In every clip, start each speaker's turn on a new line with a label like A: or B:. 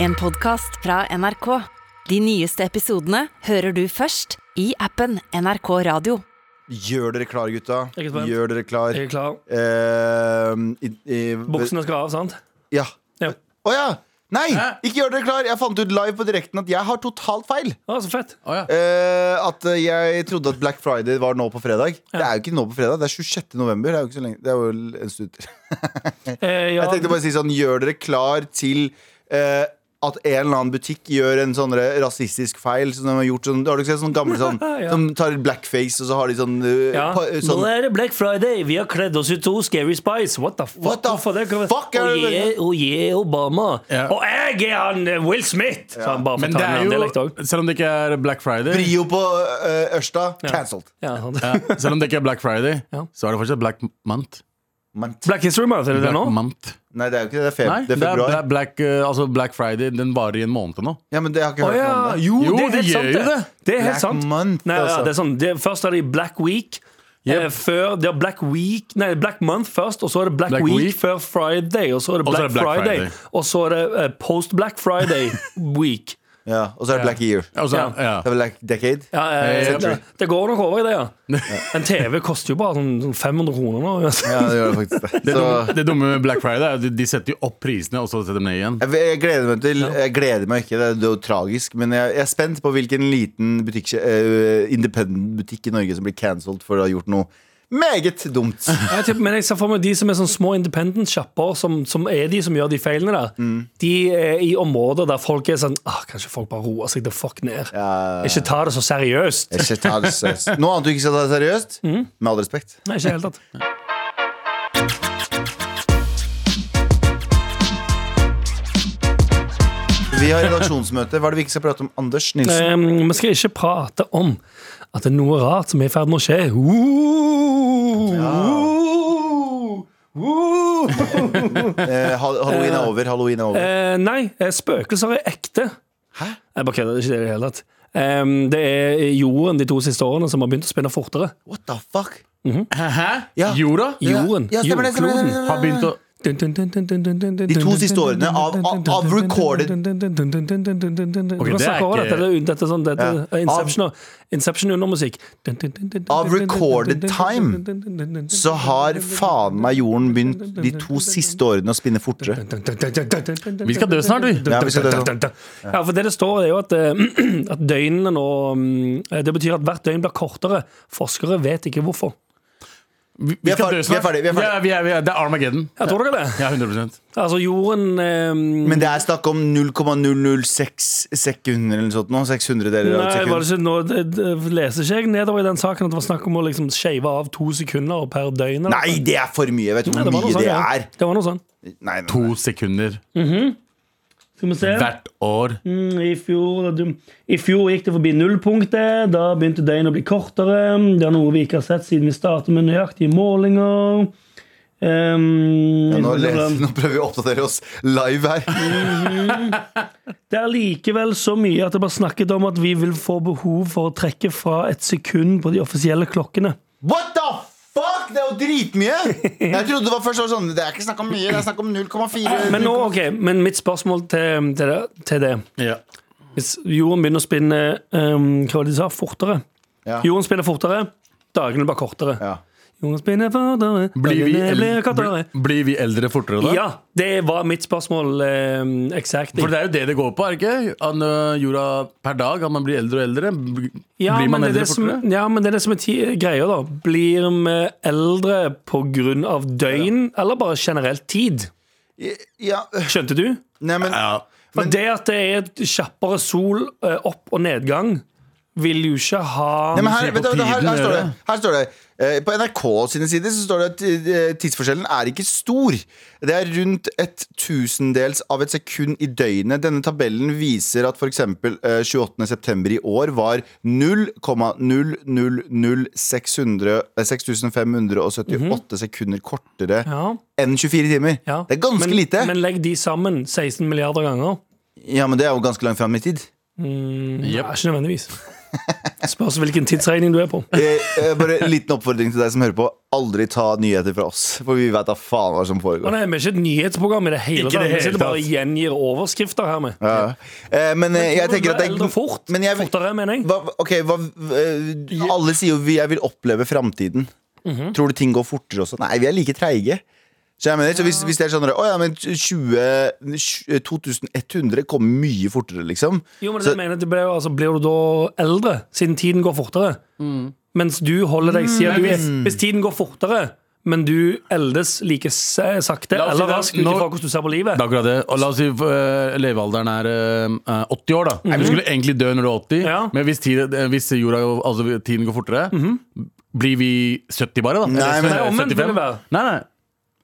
A: En podcast fra NRK. De nyeste episodene hører du først i appen NRK Radio.
B: Gjør dere klar, gutta.
C: Jeg er spent.
B: Gjør dere klar.
C: Jeg er klar.
B: Eh, i, i,
C: Buksene skal av, sant?
B: Ja.
C: Ja.
B: Å ja! Nei!
C: Hæ?
B: Ikke gjør dere klar! Jeg fant ut live på direkten at jeg har totalt feil.
C: Å, så fett.
D: Å ja.
B: Eh, at eh, jeg trodde at Black Friday var nå på fredag.
C: Ja.
B: Det er jo ikke nå på fredag. Det er 26. november. Det er jo ikke så lenge. Det er jo en stund til.
C: Eh, ja,
B: Jeg tenkte bare å si sånn, gjør dere klar til eh, at en eller annen butikk gjør en sånn rasistisk feil. Som de har gjort sånn, har du ikke sett sånn gamle sånn
C: Ja.
B: Som tar blackface, og så har de sånn, eh,
C: ja.
B: pa-
C: Nå
B: sånn
C: er det Black Friday. Vi har kledd oss ut som Scary Spice. What the fuck?
B: What the
C: Hvorfor det?
B: fuck er
C: og
B: det-
C: jeg, og jeg er Obama.
D: Ja.
C: Og jeg er han eh, Will Smith! Så han bare
D: Men
C: får
D: det
C: ta en
D: er
C: annen dialekt
D: jo,
C: òg.
D: selv om det ikke er Black Friday
B: Brio på eh, Ørsta. Cancelled.
C: Ja, sant.
D: ja, Selv om det ikke er Black Friday,
C: Ja.
D: så er det fortsatt Black Month.
B: Men
C: Black History Month, er det det nå?
D: Black Month.
B: Nei, det er jo ikke det. Det er, feb
D: Nei,
B: det er februar.
D: Bla- Black, eh, altså Black Friday den varer i en måned til nå.
B: Ja, men det har jeg
C: Å
B: ikke hørt
C: ja.
B: noe om. det.
C: Jo,
D: Jo,
C: det er
D: det
C: helt
D: gjør
C: sant,
D: jo
C: det.
D: det.
C: Det er
B: Black
C: helt sant.
B: month,
C: Nei, ja,
B: altså.
C: det er sånn. det, først er det Black Week.
D: Yep.
C: Eh, før, det er Black Week Nei, Black Month først, og så er det Black,
D: Black
C: Week,
D: Week.
C: før Friday. Og så er det
D: Og så
C: Black,
D: er det Black
C: Friday,
D: Friday.
C: Og så er det eh, post Black Friday week.
B: Ja, og så er det Black Year.
D: Altså,
C: Ja.
D: ja.
B: Det er Black Decade.
C: Ja, eh,
D: Yep.
C: det, det går nok over i det, ja. En TV koster jo bare sånn sånn 500 kroner nå. uansett.
B: Ja, det gjør det faktisk det.
D: Det,
B: Så
D: dumme, det dumme med Black Friday er at de- de setter jo opp prisene, og så setter de ned igjen.
B: jeg, jeg gleder meg til Jeg gleder meg ikke, det er det er jo tragisk, men jeg, jeg er spent på hvilken liten butikk, eh, independent butikk i Norge som blir cancelled for å ha gjort noe meget dumt.
C: Jeg tipper- men jeg ser for meg de som er sånn små independent-sjapper, som, som er de som gjør de feilene der,
B: Mm.
C: de er i områder der folk er sånn ah, Kanskje folk bare roer seg the fuck ned.
B: Ja.
C: Ikke ta det så seriøst.
B: Jeg skal ta det seriøst. Noe annet du ikke skal ta det seriøst? Med all respekt.
C: Nei, ikke i det hele tatt.
B: Vi har redaksjonsmøte. Hva er det vi ikke skal prate om? Anders Nilsen.
C: Ehm, Vi skal ikke prate om at det er noe rart som er i ferd med å skje. Uh, uh, uh.
B: Eh, hal- Halloween er over. Halloween er over.
C: Eh, nei, eh, spøkelser er ekte.
B: Hæ?
C: Jeg bare kødder, det er ikke det i det hele tatt. Ehm, det er jorden de to siste årene som har begynt å spinne fortere.
B: What the fuck?
D: Hæ?
B: Ja.
D: Jorda
C: Jorden.
B: Ja, stemmer det, stemmer det,
C: jordkloden.
B: stemmer det.
D: har begynt å
C: De to
B: to siste årene av- av- av recorded-
C: okay,
D: det er ikke-
C: Dette er, dette er sånn, dette er
B: Ja.
C: Inception, og- Inception under musikk.
B: Av recorded time, så har faen meg jorden begynt de to siste årene å spinne fortere.
D: Vi skal dø snart, vi.
B: Ja, vi skal dø snart.
C: Ja, for det det står, er jo at, eh, at døgnene nå mm, Det betyr at hvert døgn blir kortere. Forskere vet ikke hvorfor.
D: Vi,
B: Vi er
D: vi skal
B: ferdig, vi
D: dø
B: er
D: snart.
B: ferdig, vi er ferdig.
D: Ja, vi er, vi er, det er Armageddon.
C: Ja, tror dere det?
D: Ja, 100
C: Altså, jorden eh,
B: Men det er snakk om 0,006 sekunder eller noe sånt nå. 600 deler av et
C: Nei, sånn, var det
B: sekund.
C: ikke nå det, det, Leser ikke jeg nedover i den saken at det var snakk om å liksom shave av to sekunder per døgn? eller
B: Nei,
C: noe?
B: det er for mye! Vet du
C: Nei,
B: hvor
C: var noe
B: mye
C: sånt,
B: det
C: ja.
B: er?
C: Det var noe sånn.
B: Nei, nei,
D: To sekunder
C: Skal vi se.
D: hvert år.
C: Mm, I fjor, da du- I fjor gikk det forbi nullpunktet. Da begynte døgnet å bli kortere. Det er noe vi ikke har sett siden vi startet med nøyaktige målinger. Ehm,
B: Ja, nå,
C: det
B: les,
C: er-
B: nå prøver vi å oppdatere oss live her.
C: det er likevel så mye at det bare snakket om at vi vil få behov for å trekke fra et sekund på de offisielle klokkene.
B: What the fuck?! Det er jo dritmye! Jeg trodde det var først var sånn Det er ikke snakk om mye, det er snakk om 0,4
C: Men nå, ok, men mitt spørsmål til, til, det, til det
D: Ja.
C: Hvis jorden begynner å spinne ehm, Hva var det de sa? Fortere?
B: Ja.
C: Jorden spinner fortere, dagene blir kortere.
B: Ja.
C: Jorden spinner fortere,
D: Blir vi,
C: dagene blir
D: el
C: kortere.
D: bli- blir vi eldre fortere da?
C: Ja, det var mitt spørsmål eh, eksakt.
D: For det er jo det det går på, er det ikke? An, ø, jorda per dag, at man blir eldre og eldre. B-
C: ja,
D: blir man
C: men det er
D: eldre
C: det som,
D: fortere?
C: ja, men det er det som er ti- greia, da. Blir vi eldre pga. døgn, eller bare generelt tid?
B: Ja, øh,
C: Skjønte du?
B: nei, men
D: Ja.
C: For det at det er et kjappere sol, eh, opp- og nedgang, vil jo ikke ha
B: Nei, men her,
D: ser på
B: vet du, her,
D: tiden,
B: her står det,
D: dere.
B: her står det eh, På NRK sine sider så står det at eh, tidsforskjellen er ikke stor. Det er rundt et tusendels av et sekund i døgnet. Denne tabellen viser at f.eks. Eh, 28.9. i år var eh, 0,000678 sekunder kortere
C: Ja,
B: enn 24 timer.
C: ja.
B: Det er ganske
C: men,
B: lite.
C: Men legg de sammen 16 milliarder ganger.
B: ja, men det er jo ganske langt fram i tid.
C: Mm,
D: Jep.
C: nei, Ikke nødvendigvis.
E: Spørs hvilken tidsregning du er på.
B: Eh, eh, bare en liten oppfordring til deg som hører på. Aldri ta nyheter fra oss, for vi veit da faen hva som
C: Å
B: foregår.
C: nei, Vi er ikke et nyhetsprogram i det hele
D: Ikke
C: tatt.
D: i det
C: Vi
D: hele
C: sitter bare og
D: tatt.
C: gjengir overskrifter her med.
B: Ja. Eh, men eh, jeg tenker at det
C: Eldre fort.
B: Men jeg,
C: Fortere, mener jeg.
B: hva, ok, hva, eh, Alle sier jo vi- 'jeg vil oppleve framtiden'.
C: Mhm.
B: Tror du ting går fortere også? Nei, vi er like treige. Så, jeg mener, så hvis, hvis det er sånn Å ja, men 20, 2100 kommer mye fortere, liksom.
C: Jo, men
B: Så-
C: det mener jeg, det blir, jo- altså, blir du da eldre, siden tiden går fortere? Mens du holder
D: Mm.
C: deg sier du, er- Hvis tiden går fortere, men du eldes like se- sakte
D: La oss si
C: eller
D: det,
C: raskt ut
D: nå-
C: ifra hvordan du ser på livet
D: Det er akkurat det. Og la oss si eh, levealderen er eh, eh, 80 år, da. Du skulle egentlig dø når du er 80,
C: Mhm. Ja.
D: men hvis, tid, eh, hvis jorda, altså, tiden går fortere, blir vi 70 bare, da?
B: Nei, men-
C: Nei, omvendt vil det være.
D: Nei, nei.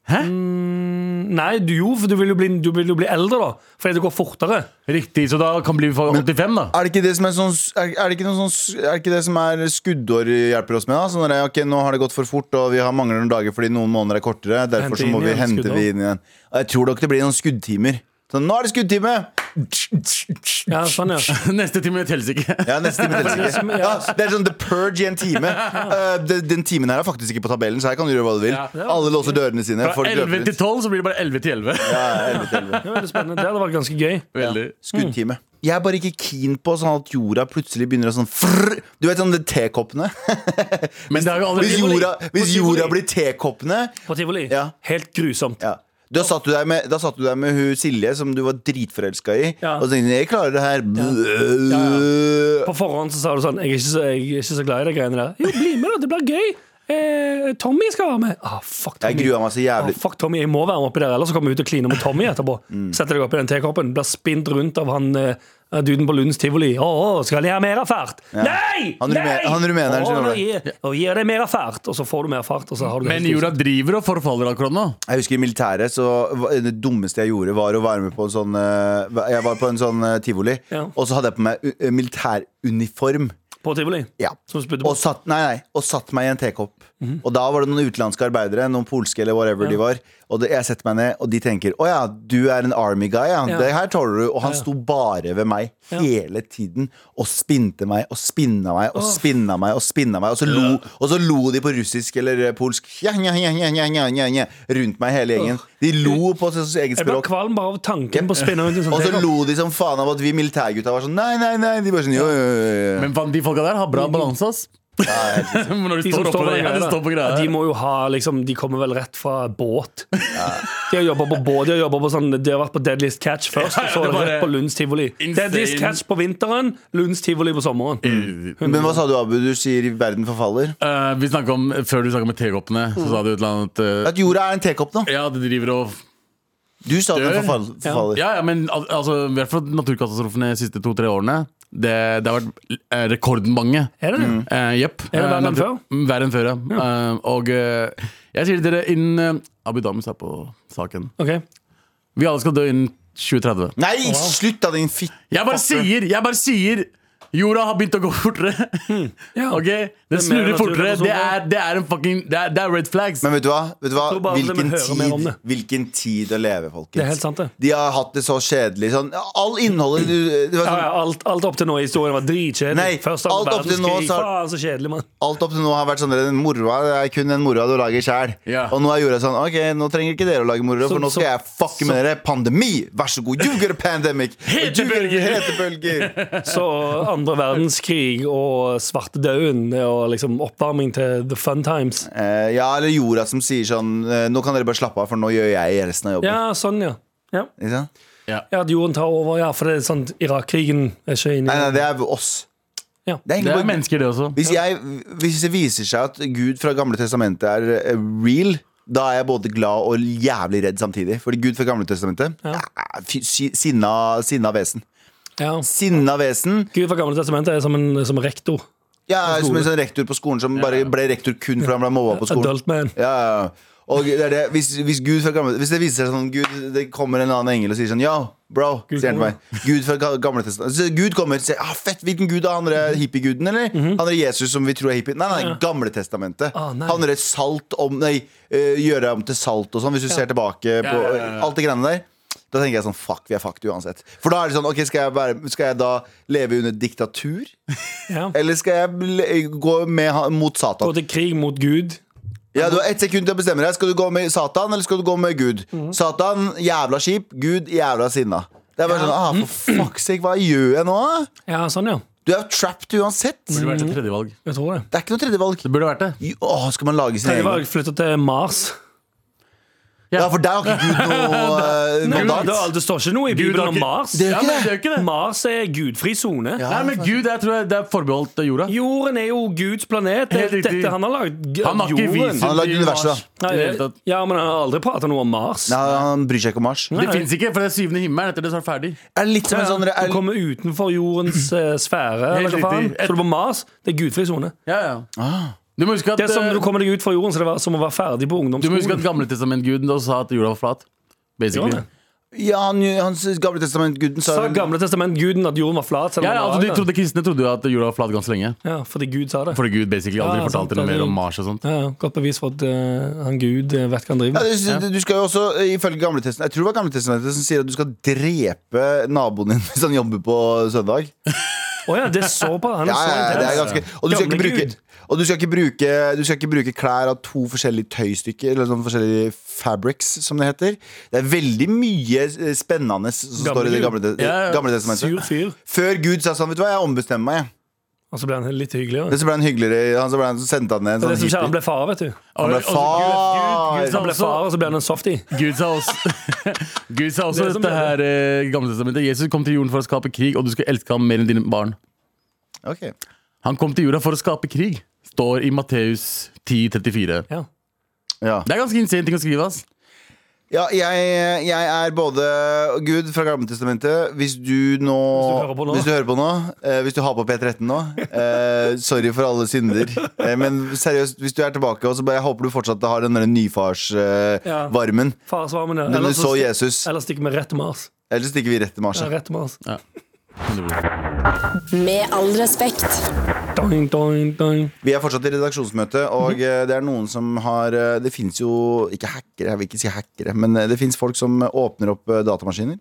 D: Hæ?
C: Nei, du jo, for du vil jo bli, du vil jo bli eldre da Fordi det går fortere
D: Riktig, så da kan bli vi 85, da.
B: Er det ikke det som er sånn Er, er det ikke noe sånn Er det ikke det som er skuddår hjelper oss med? da? Sånn når det er, ok, nå har det gått for fort, og vi har mangler noen dager fordi noen måneder er kortere. Derfor
C: Hente
B: så må
C: inn
B: vi
C: igjen
B: hente
C: skuddår.
B: vi inn igjen. Og jeg tror nok det blir noen skuddtimer. Sånn, nå er det skuddtime!
C: Ja, sånn ja
D: Neste time telles ikke.
B: Ja, neste time teller
C: som-
B: ikke.
C: ja.
B: Ja, det er sånn The Purge i en time. Eh, de- den timen her er faktisk ikke på tabellen, så her kan du gjøre hva du vil.
D: Ja, det
C: var-
B: Alle låser dørene sine.
D: Fra
B: Folk
D: 11
B: løper
D: til
B: ut.
D: 12 så blir det bare 11 til 11.
B: Ja, 11 til 11.
C: Det var veldig spennende Det hadde vært ganske gøy
D: Veldig. Mm.
B: Skuddtime. Jeg er bare ikke keen på sånn at jorda plutselig begynner å sånn frrr. Du vet sånn de tekoppene?
D: Men det har jo
B: Hvis
D: aldri
B: jorda, hvis jorda blir tekoppene
C: På Tivoli
B: Ja.
C: Helt grusomt
B: Ja. Da satt du der med, da satt du der med hun Silje, som du var dritforelska i,
C: Ja.
B: og så tenkte du, jeg klarer det her.
C: På forhånd så sa du sånn Jeg er ikke så, jeg er ikke så glad i det greiene der Jo, bli med da, det blir gøy eh, Tommy skal være med Ah, fuck
B: Jeg
C: Tommy
B: grua meg så
C: Ah,
B: jævlig. Mm.
C: fuck Tommy, jeg må være med oppi der Ellers så kommer jeg ut og kliner mot Tommy etterpå Setter deg opp i den tekoppen Blir spint rundt av han eh, Duden på Lunds Tivoli Åh, åh, skal jeg ha mer fart? Nei!
B: Han
C: nei!
B: rume- han rumeneren
C: Åh,
B: sin,
C: nå
B: var det.
C: gir- Og gir deg mer fart Og så får du mer fart og så har du det
D: Men
C: helt grusomt.
D: jorda driver og forfaller akkurat nå.
B: Jeg husker I militæret så var- det dummeste jeg gjorde, var å være med på en sånn eh, Jeg var på en sånn eh, tivoli,
C: Ja.
B: og så hadde jeg på meg u- eh, militæruniform.
C: På Tivoli?
B: Ja.
C: Som spydde på?
B: Og satt, nei, nei, og satt meg i en tekopp.
C: Mhm.
B: Og da var det noen utenlandske arbeidere, noen polske eller whatever de var. Og det, jeg setter meg ned, og de tenker Å ja, du er en army guy, ja.
C: Ja.
B: Det her tåler du. Og han
C: Ja, ja.
B: sto bare ved meg
C: Ja.
B: hele tiden og spinte meg og spinna meg og spinna meg og spinna meg. Og så lo, og så lo de på russisk eller eh, polsk ja, ja, ja, ja, ja, ja, ja, ja, rundt meg, hele gjengen. De lo på sitt eget
C: Jeg ble
B: språk.
C: kvalm bare av tanken på å spinne rundt i en sånn
B: Og så
C: tekopp.
B: lo de som faen av at vi militærgutta var sånn Nei, nei, nei. De bare sånn jo, jo, jo, jo. jo.
D: Men faen, de folka der har bra balanse, ass. Når de,
C: De som
D: står oppå
C: står på
D: det, ja,
C: greia,
D: de
C: da.
D: står på greia.
C: Ja, De må jo ha liksom De kommer vel rett fra båt. De har jobba på båt, de har jobbet på sånn De har vært på Deadliest Catch først, og så
D: Ja, ja, det var
C: rett
D: det.
C: på Lunds Tivoli.
D: Insane. Mm.
C: Deadliest Catch på vinteren, Lunds Tivoli på sommeren.
B: Men hva sa du, Abu? Du sier verden forfaller.
D: Eh, vi snakket om, Før du snakket om tekoppene, så sa du et eller annet eh,
B: At jorda er en tekopp nå.
D: Ja, det driver og
B: Du sa at den
D: Dør.
B: forfall, forfaller.
D: Ja, ja, men al altså, i hvert fall naturkatastrofene de siste to-tre årene. Det, det har vært eh, rekordmange.
C: Er det det?
D: Eh, Jepp.
C: Er det verre
D: Eh,
C: enn før?
D: Verre enn før, ja. Eh, og eh, jeg sier til dere innen eh, Abu Damus er på saken.
C: Ok.
D: Vi alle skal dø innen 2030.
B: Nei, slutt da, din fitte!
D: Jeg bare sier! Jeg bare sier! Jorda har begynt å gå fortere.
C: Hmm. Ja.
D: Ok? Den
C: er mer
D: snurrer fortere. Det er,
C: naturkatastrofer.
D: det er en fucking Det er, det er red flags.
B: Men vet du hva? Vet du hva?
C: tror bare at de
B: Hvilken,
C: vil høre mer om
B: tid,
C: det.
B: hvilken tid å leve, folkens.
C: Det er helt sant, det.
B: De har hatt det så kjedelig. Sånn, all innholdet du, det var
C: Ja,
B: sånn,
C: ja, alt, alt opp til nå i historien var
B: Nei,
C: dritkjedelig. Først av
B: alt opp til nå
C: verdenskrig.
B: så-
C: Faen, så kjedelig, mann.
B: Alt opp til nå har vært sånn Den moroa det er kun den moroa du lager sjæl.
D: Ja.
B: Og nå er jorda sånn Ok, nå trenger ikke dere å lage moroa,
C: Så-
B: for nå skal
C: så-
B: jeg fucke med dere. Pandemi! Vær så god. You get a pandemic!
D: Hetebølger.
B: Hetebølger!
C: Så andre verdenskrig og svartedauden og liksom oppvarming til the fun times.
B: Eh, ja, eller jorda som sier sånn eh, Nå kan dere bare slappe av, for nå gjør jeg resten av jobben.
C: Ja, sånn, ja. ja.
B: Ikke sant?
C: Ja, at jorden tar over, ja, for det er sånn Irak-krigen er ikke inne
B: Nei, nei,
C: i
B: det er oss.
C: Ja.
B: Det er
D: Det
B: egentlig
D: er
B: bare
D: mennesker, det også.
B: Hvis, jeg, hvis det viser seg at Gud fra Gamle Testamentet er eh, real, da er jeg både glad og jævlig redd samtidig. Fordi Gud fra Gamle Testamentet
C: Ja.
B: eh, fy- si- sinna, sinna vesen.
C: ja.
B: Sinna vesen.
C: Gud fra Gamle testamentet er som en som en rektor.
B: Jeg er som en sånn rektor på skolen som bare ble rektor kun fordi han ble mobba på skolen.
C: Adult man.
B: Ja, ja, ja. Og det er det, hvis, hvis, Gud fra gamle, hvis det viser seg sånn Gud, Det kommer en annen engel og sier sånn Yo, bro,
C: Gud
B: sier han til
C: kommer.
B: meg Gud fra ga- gamle testamentet Så Gud kommer og sier ah, Fett, hvilken Gud er han er hippieguden, eller? Han er Jesus som vi tror er hippie Nei, nei, gamle testamentet
C: Mhm. Ah, nei.
B: Han er salt om Nei, eh, gjøre om til salt og sånn Hvis du ser tilbake på
D: ja, ja, ja.
B: alt det greiene der Da tenker jeg sånn, fuck, vi er fucked uansett. For da er det sånn, ok, skal jeg, være, skal jeg da leve under diktatur?
C: Ja.
B: Eller skal jeg le- gå med, han- mot
C: Gå
B: Satan?
C: til krig mot Gud.
B: Ja, Du har ett sekund til å bestemme deg. Skal du gå med Satan, eller skal du gå med Gud? Satan, jævla kjip. Gud, jævla sinna. Det er bare sånn, ah, for fuck's sake, hva gjør jeg nå? da?
C: Ja, sånn, ja.
B: Du er jo trapped uansett.
D: burde vært et tredjevalg.
C: Jeg tror det.
B: Det er ikke noe tredjevalg.
D: Det burde vært det.
B: Åh, skal man lage sin
C: Jeg
B: egen?
C: var flyttet til Mars.
B: Ja, for der har ikke Gud noe eh,
C: Gud,
B: mandat.
C: det, det står ikke noe i
D: Gud
C: Bibelen
D: har
C: om
D: ikke-
C: Mars.
B: Det er jo ikke
D: men
B: det.
D: er jo ikke det.
C: Mars er gudfri sone.
B: Ja,
D: Nei, men Gud, jeg tror jeg, det er forbeholdt eh, jorda.
C: Jorden er jo Guds planet. Det
D: Helt
C: er
D: riktig.
C: dette han har lagd.
D: Han har ikke
C: jorden.
D: visum
B: Han har lagd
D: til
B: universet,
D: Mars.
C: Nei,
D: I det hele tatt.
C: ja, men han har aldri pratet noe om Mars.
B: Nei, han bryr seg ikke om Mars.
D: Det fins ikke, for det er syvende himmelen. Etter det så er det ferdig.
B: Er det litt som en sånn
C: Du
B: er,
C: kommer utenfor jordens eh, sfære.
D: Helt
C: Eller hva faen.
D: riktig.
C: Så du på Mars, det er gudfri sone.
D: Ja, ja.
B: Ah.
D: Du må huske at,
C: Det er som
D: eh,
C: du kommer deg ut fra jorden, så det var som å være ferdig på
D: du må huske
C: ungdomsskolen.
D: at Gamletestamentguden da sa at jorda var flat. Basically.
C: Gjorde han det?
B: Ja, han, hans gamle testament guden sa
C: Sa Gamle testament guden at jorden var flat? selv om
D: Ja, ja,
C: han
D: altså,
C: var
D: de
C: det?
D: trodde, kristne trodde jo at jorda var flat ganske lenge.
C: ja, fordi Gud sa det.
D: Fordi Gud basically aldri
C: Ja, sant,
D: fortalte noe
C: det er
D: mer om
C: sant.
D: Mars og sånt.
C: Ja, ja, godt bevis for at eh, han Gud eh, vet hva han
B: ja,
C: driver med.
B: du, du skal jo også, eh, ifølge gamle testament Jeg tror det var gamle testamentet som sier at du skal drepe naboen din hvis han jobber på søndag.
C: Å ja, det er såpass. Han
B: Ja,
C: er så
B: ja, ja, det er
C: intens.
B: ganske Og du skal
C: Gamle
B: ikke bruke
C: Gud.
B: og du skal, ikke bruke, du skal ikke bruke klær av to forskjellige tøystykker, eller sånne forskjellige fabrics, som det heter. Det er veldig mye eh, spennende som står i det gamle,
C: Gamle
B: te-
D: Ja, ja.
B: gamle testamentet.
C: Sur fyr.
B: Før Gud sa sånn, vet du hva, jeg ombestemmer meg. jeg."
C: Og så ble han litt hyggeligere.
B: Men så ble han hyggeligere, han så ble han, så sendte han ned en
C: Det er
B: sånn
C: det som skjer, han
B: hippie. altså-
C: ble far, vet du.
D: Han
B: ble far.
D: Gud, Gud,
C: Han ble
D: sa
C: far, og så ble han en softie.
D: også, Gud sa også, Gud sa også
C: Det er som
D: dette her eh, gamletestamentet. Jesus kom til jorden for å skape krig, og du skal elske ham mer enn dine barn.
B: Ok.
D: Han kom til jorda for å skape krig, står i Matteus 10,34.
C: Ja.
B: Ja.
D: Det er ganske insane ting å skrive, ass.
B: Ja, jeg, jeg er både Gud fra Gammeltestamentet. Hvis du nå
C: hører på nå.
B: Hvis du, hører på nå, eh, hvis du har på P13 nå eh, Sorry for alle synder. Eh, men seriøst, hvis du er tilbake, og så bare, jeg håper du fortsatt har den der
C: Ja.
B: nyfarsvarmen. Eh,
C: Farsvarmen, ja.
B: ja. Men
C: Ellers
B: du så
C: så-
B: Jesus.
C: Ellers stikker vi rett til Mars.
B: Ellers stikker vi rett til Mars.
C: Ja, rett til Mars.
A: Med all respekt.
C: Doing, doing, doing.
B: Vi er fortsatt i redaksjonsmøte,
C: Mhm.
B: og eh, det er noen som har eh, Det fins jo ikke hackere, jeg vil ikke si hackere, men eh, det fins folk som åpner opp eh, datamaskiner.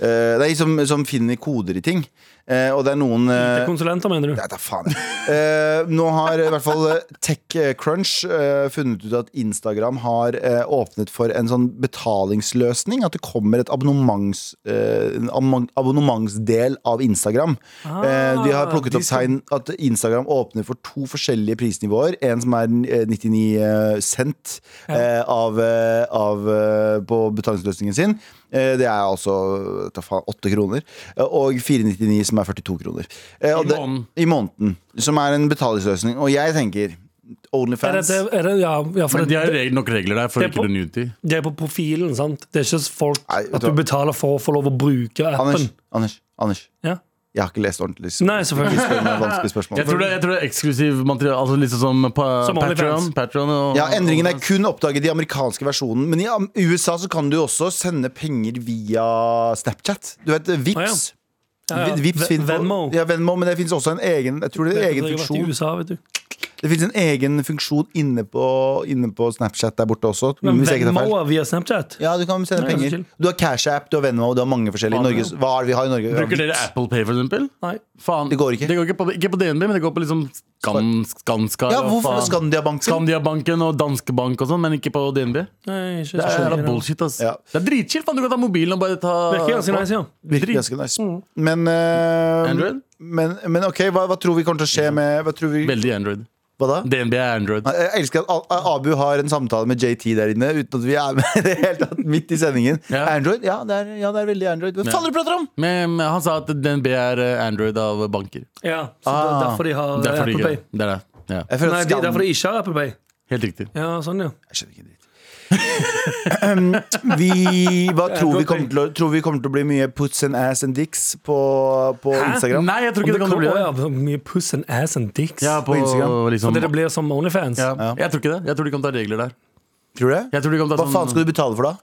B: Eh, Nei, som, som finner koder i ting. Eh, Og det er noen eh,
C: Konsulenter, mener du?
B: Nei, da faen. Eh, nå har i hvert fall eh, TechCrunch eh, funnet ut at Instagram har eh, åpnet for en sånn betalingsløsning. At det kommer et abonnements, eh, en abonnement- abonnementsdel av Instagram. Eh, de har plukket
C: de
B: opp
C: skal-
B: tegn at Instagram åpner for to forskjellige prisnivåer. En som er eh, 99 eh, cent eh, av, eh, av, eh, på betalingsløsningen sin. Eh, det er altså ta faen, 8 kroner. Eh, Og 499 som er 42 kroner. Eh, og
D: I
B: det-
D: måneden.
B: I måneden. Som er en betalingsløsning. Og jeg tenker
C: Er
B: Onlyfans.
C: det, er det, ja, ja, for
D: Men de
C: det,
D: har reg- nok regler der for
C: Det er
D: ikke
C: på-
D: å nudity.
C: det er på profilen, sant? Det er ikke folk
B: Nei, vet du
C: at du
B: hva?
C: betaler for å få lov å bruke appen.
B: Anders, Anders, Anders.
C: Ja.
B: Jeg har ikke lest ordentlig. så
C: Nei,
B: ikke
C: selvfølgelig.
B: Spør meg vanskelige spørsmål.
D: Jeg tror det, jeg tror det er eksklusiv materiale, altså liksom som, pa-
C: Som
D: Patreon.
C: OnlyFans.
D: Patreon og,
B: Ja, Endringen er
D: og-
B: kun oppdaget i amerikanske versjonen. Men i am- USA så kan du også sende penger via Snapchat. Du vet, Vips
C: Ja, ja.
B: Vips
C: Ve-
B: finner-
C: Venmo.
B: Ja, Venmo, men det fins også en egen Jeg tror det er
C: Jeg
B: en egen
C: har vært i
B: funksjon.
C: USA, vet du.
D: Mm,
B: Det finnes en egen funksjon inne på, inne på Snapchat der borte også.
C: Men
B: hvis jeg ikke tar feil.
C: Venmo er via Snapchat.
B: Ja, du kan sende
C: Nei, så
B: penger.
C: chill.
B: Du har CashApp, du har Venmo, du har mange forskjellige.
D: Faen,
B: Norges, hva er det vi har i Norge?
D: Bruker dere Apple Pay, for eksempel?
C: Nei.
D: Faen.
B: Det går ikke.
D: Det går ikke, på, ikke på DNB, men det går på liksom Skan, Skanska
B: Ja,
D: eller hva
B: hvorfor
D: faen.
B: Skandiabanken?
D: Skandiabanken og Danske Bank og sånn, men ikke på DNB.
C: Nei, ikke, ikke,
D: Det er
B: Eh,
D: jævla bullshit, ass.
B: Ja.
D: Det er dritchill, faen. Du kan ta mobilen og bare ta
C: Virker ganske nice, ja.
B: Virker ganske nice. Men, eh,
D: Android?
B: men, men ok, hva, hva tror vi kommer til å skje med Hva tror vi
D: Veldig Android.
B: Hva da?
D: DNB er Android.
B: Jeg elsker at Al- Al- Abu har en samtale med JT der inne uten at vi er med i det hele tatt. Midt i sendingen.
D: Ja.
B: Android? Ja det, er, ja, det er veldig Android. Hva faen er det du prater om?!
D: Men men han sa at DNB er eh, Android av banker.
C: ja. Så det er
B: Ah,
C: derfor de har
D: Derfor de
C: Apple
D: ikke
C: Pay.
D: Det er det. Ja.
B: Jeg føler
C: Nei,
B: at
C: det er
B: Skan-
C: derfor de ikke har Apple Pay.
D: Helt riktig.
C: Ja, sånn, ja.
B: Jeg skjønner ikke dritt. Um, vi, hva tror vi, kommer til å, tror vi kommer til å bli mye puts and ass and dicks på, på Instagram?
D: Nei, jeg tror
C: Om
D: ikke det,
C: det
D: kan bli det.
C: kommer- å, ja, mye puss and ass and dicks.
D: Ja, på,
B: På Instagram.
D: liksom,
C: Fordi det blir som Onlyfans.
D: ja.
B: Ja.
D: Jeg tror ikke det. Jeg tror de kan ta regler der.
B: Tror du det?
D: Jeg tror de kan ta
B: Hva faen
D: sånn
B: skal du betale for da?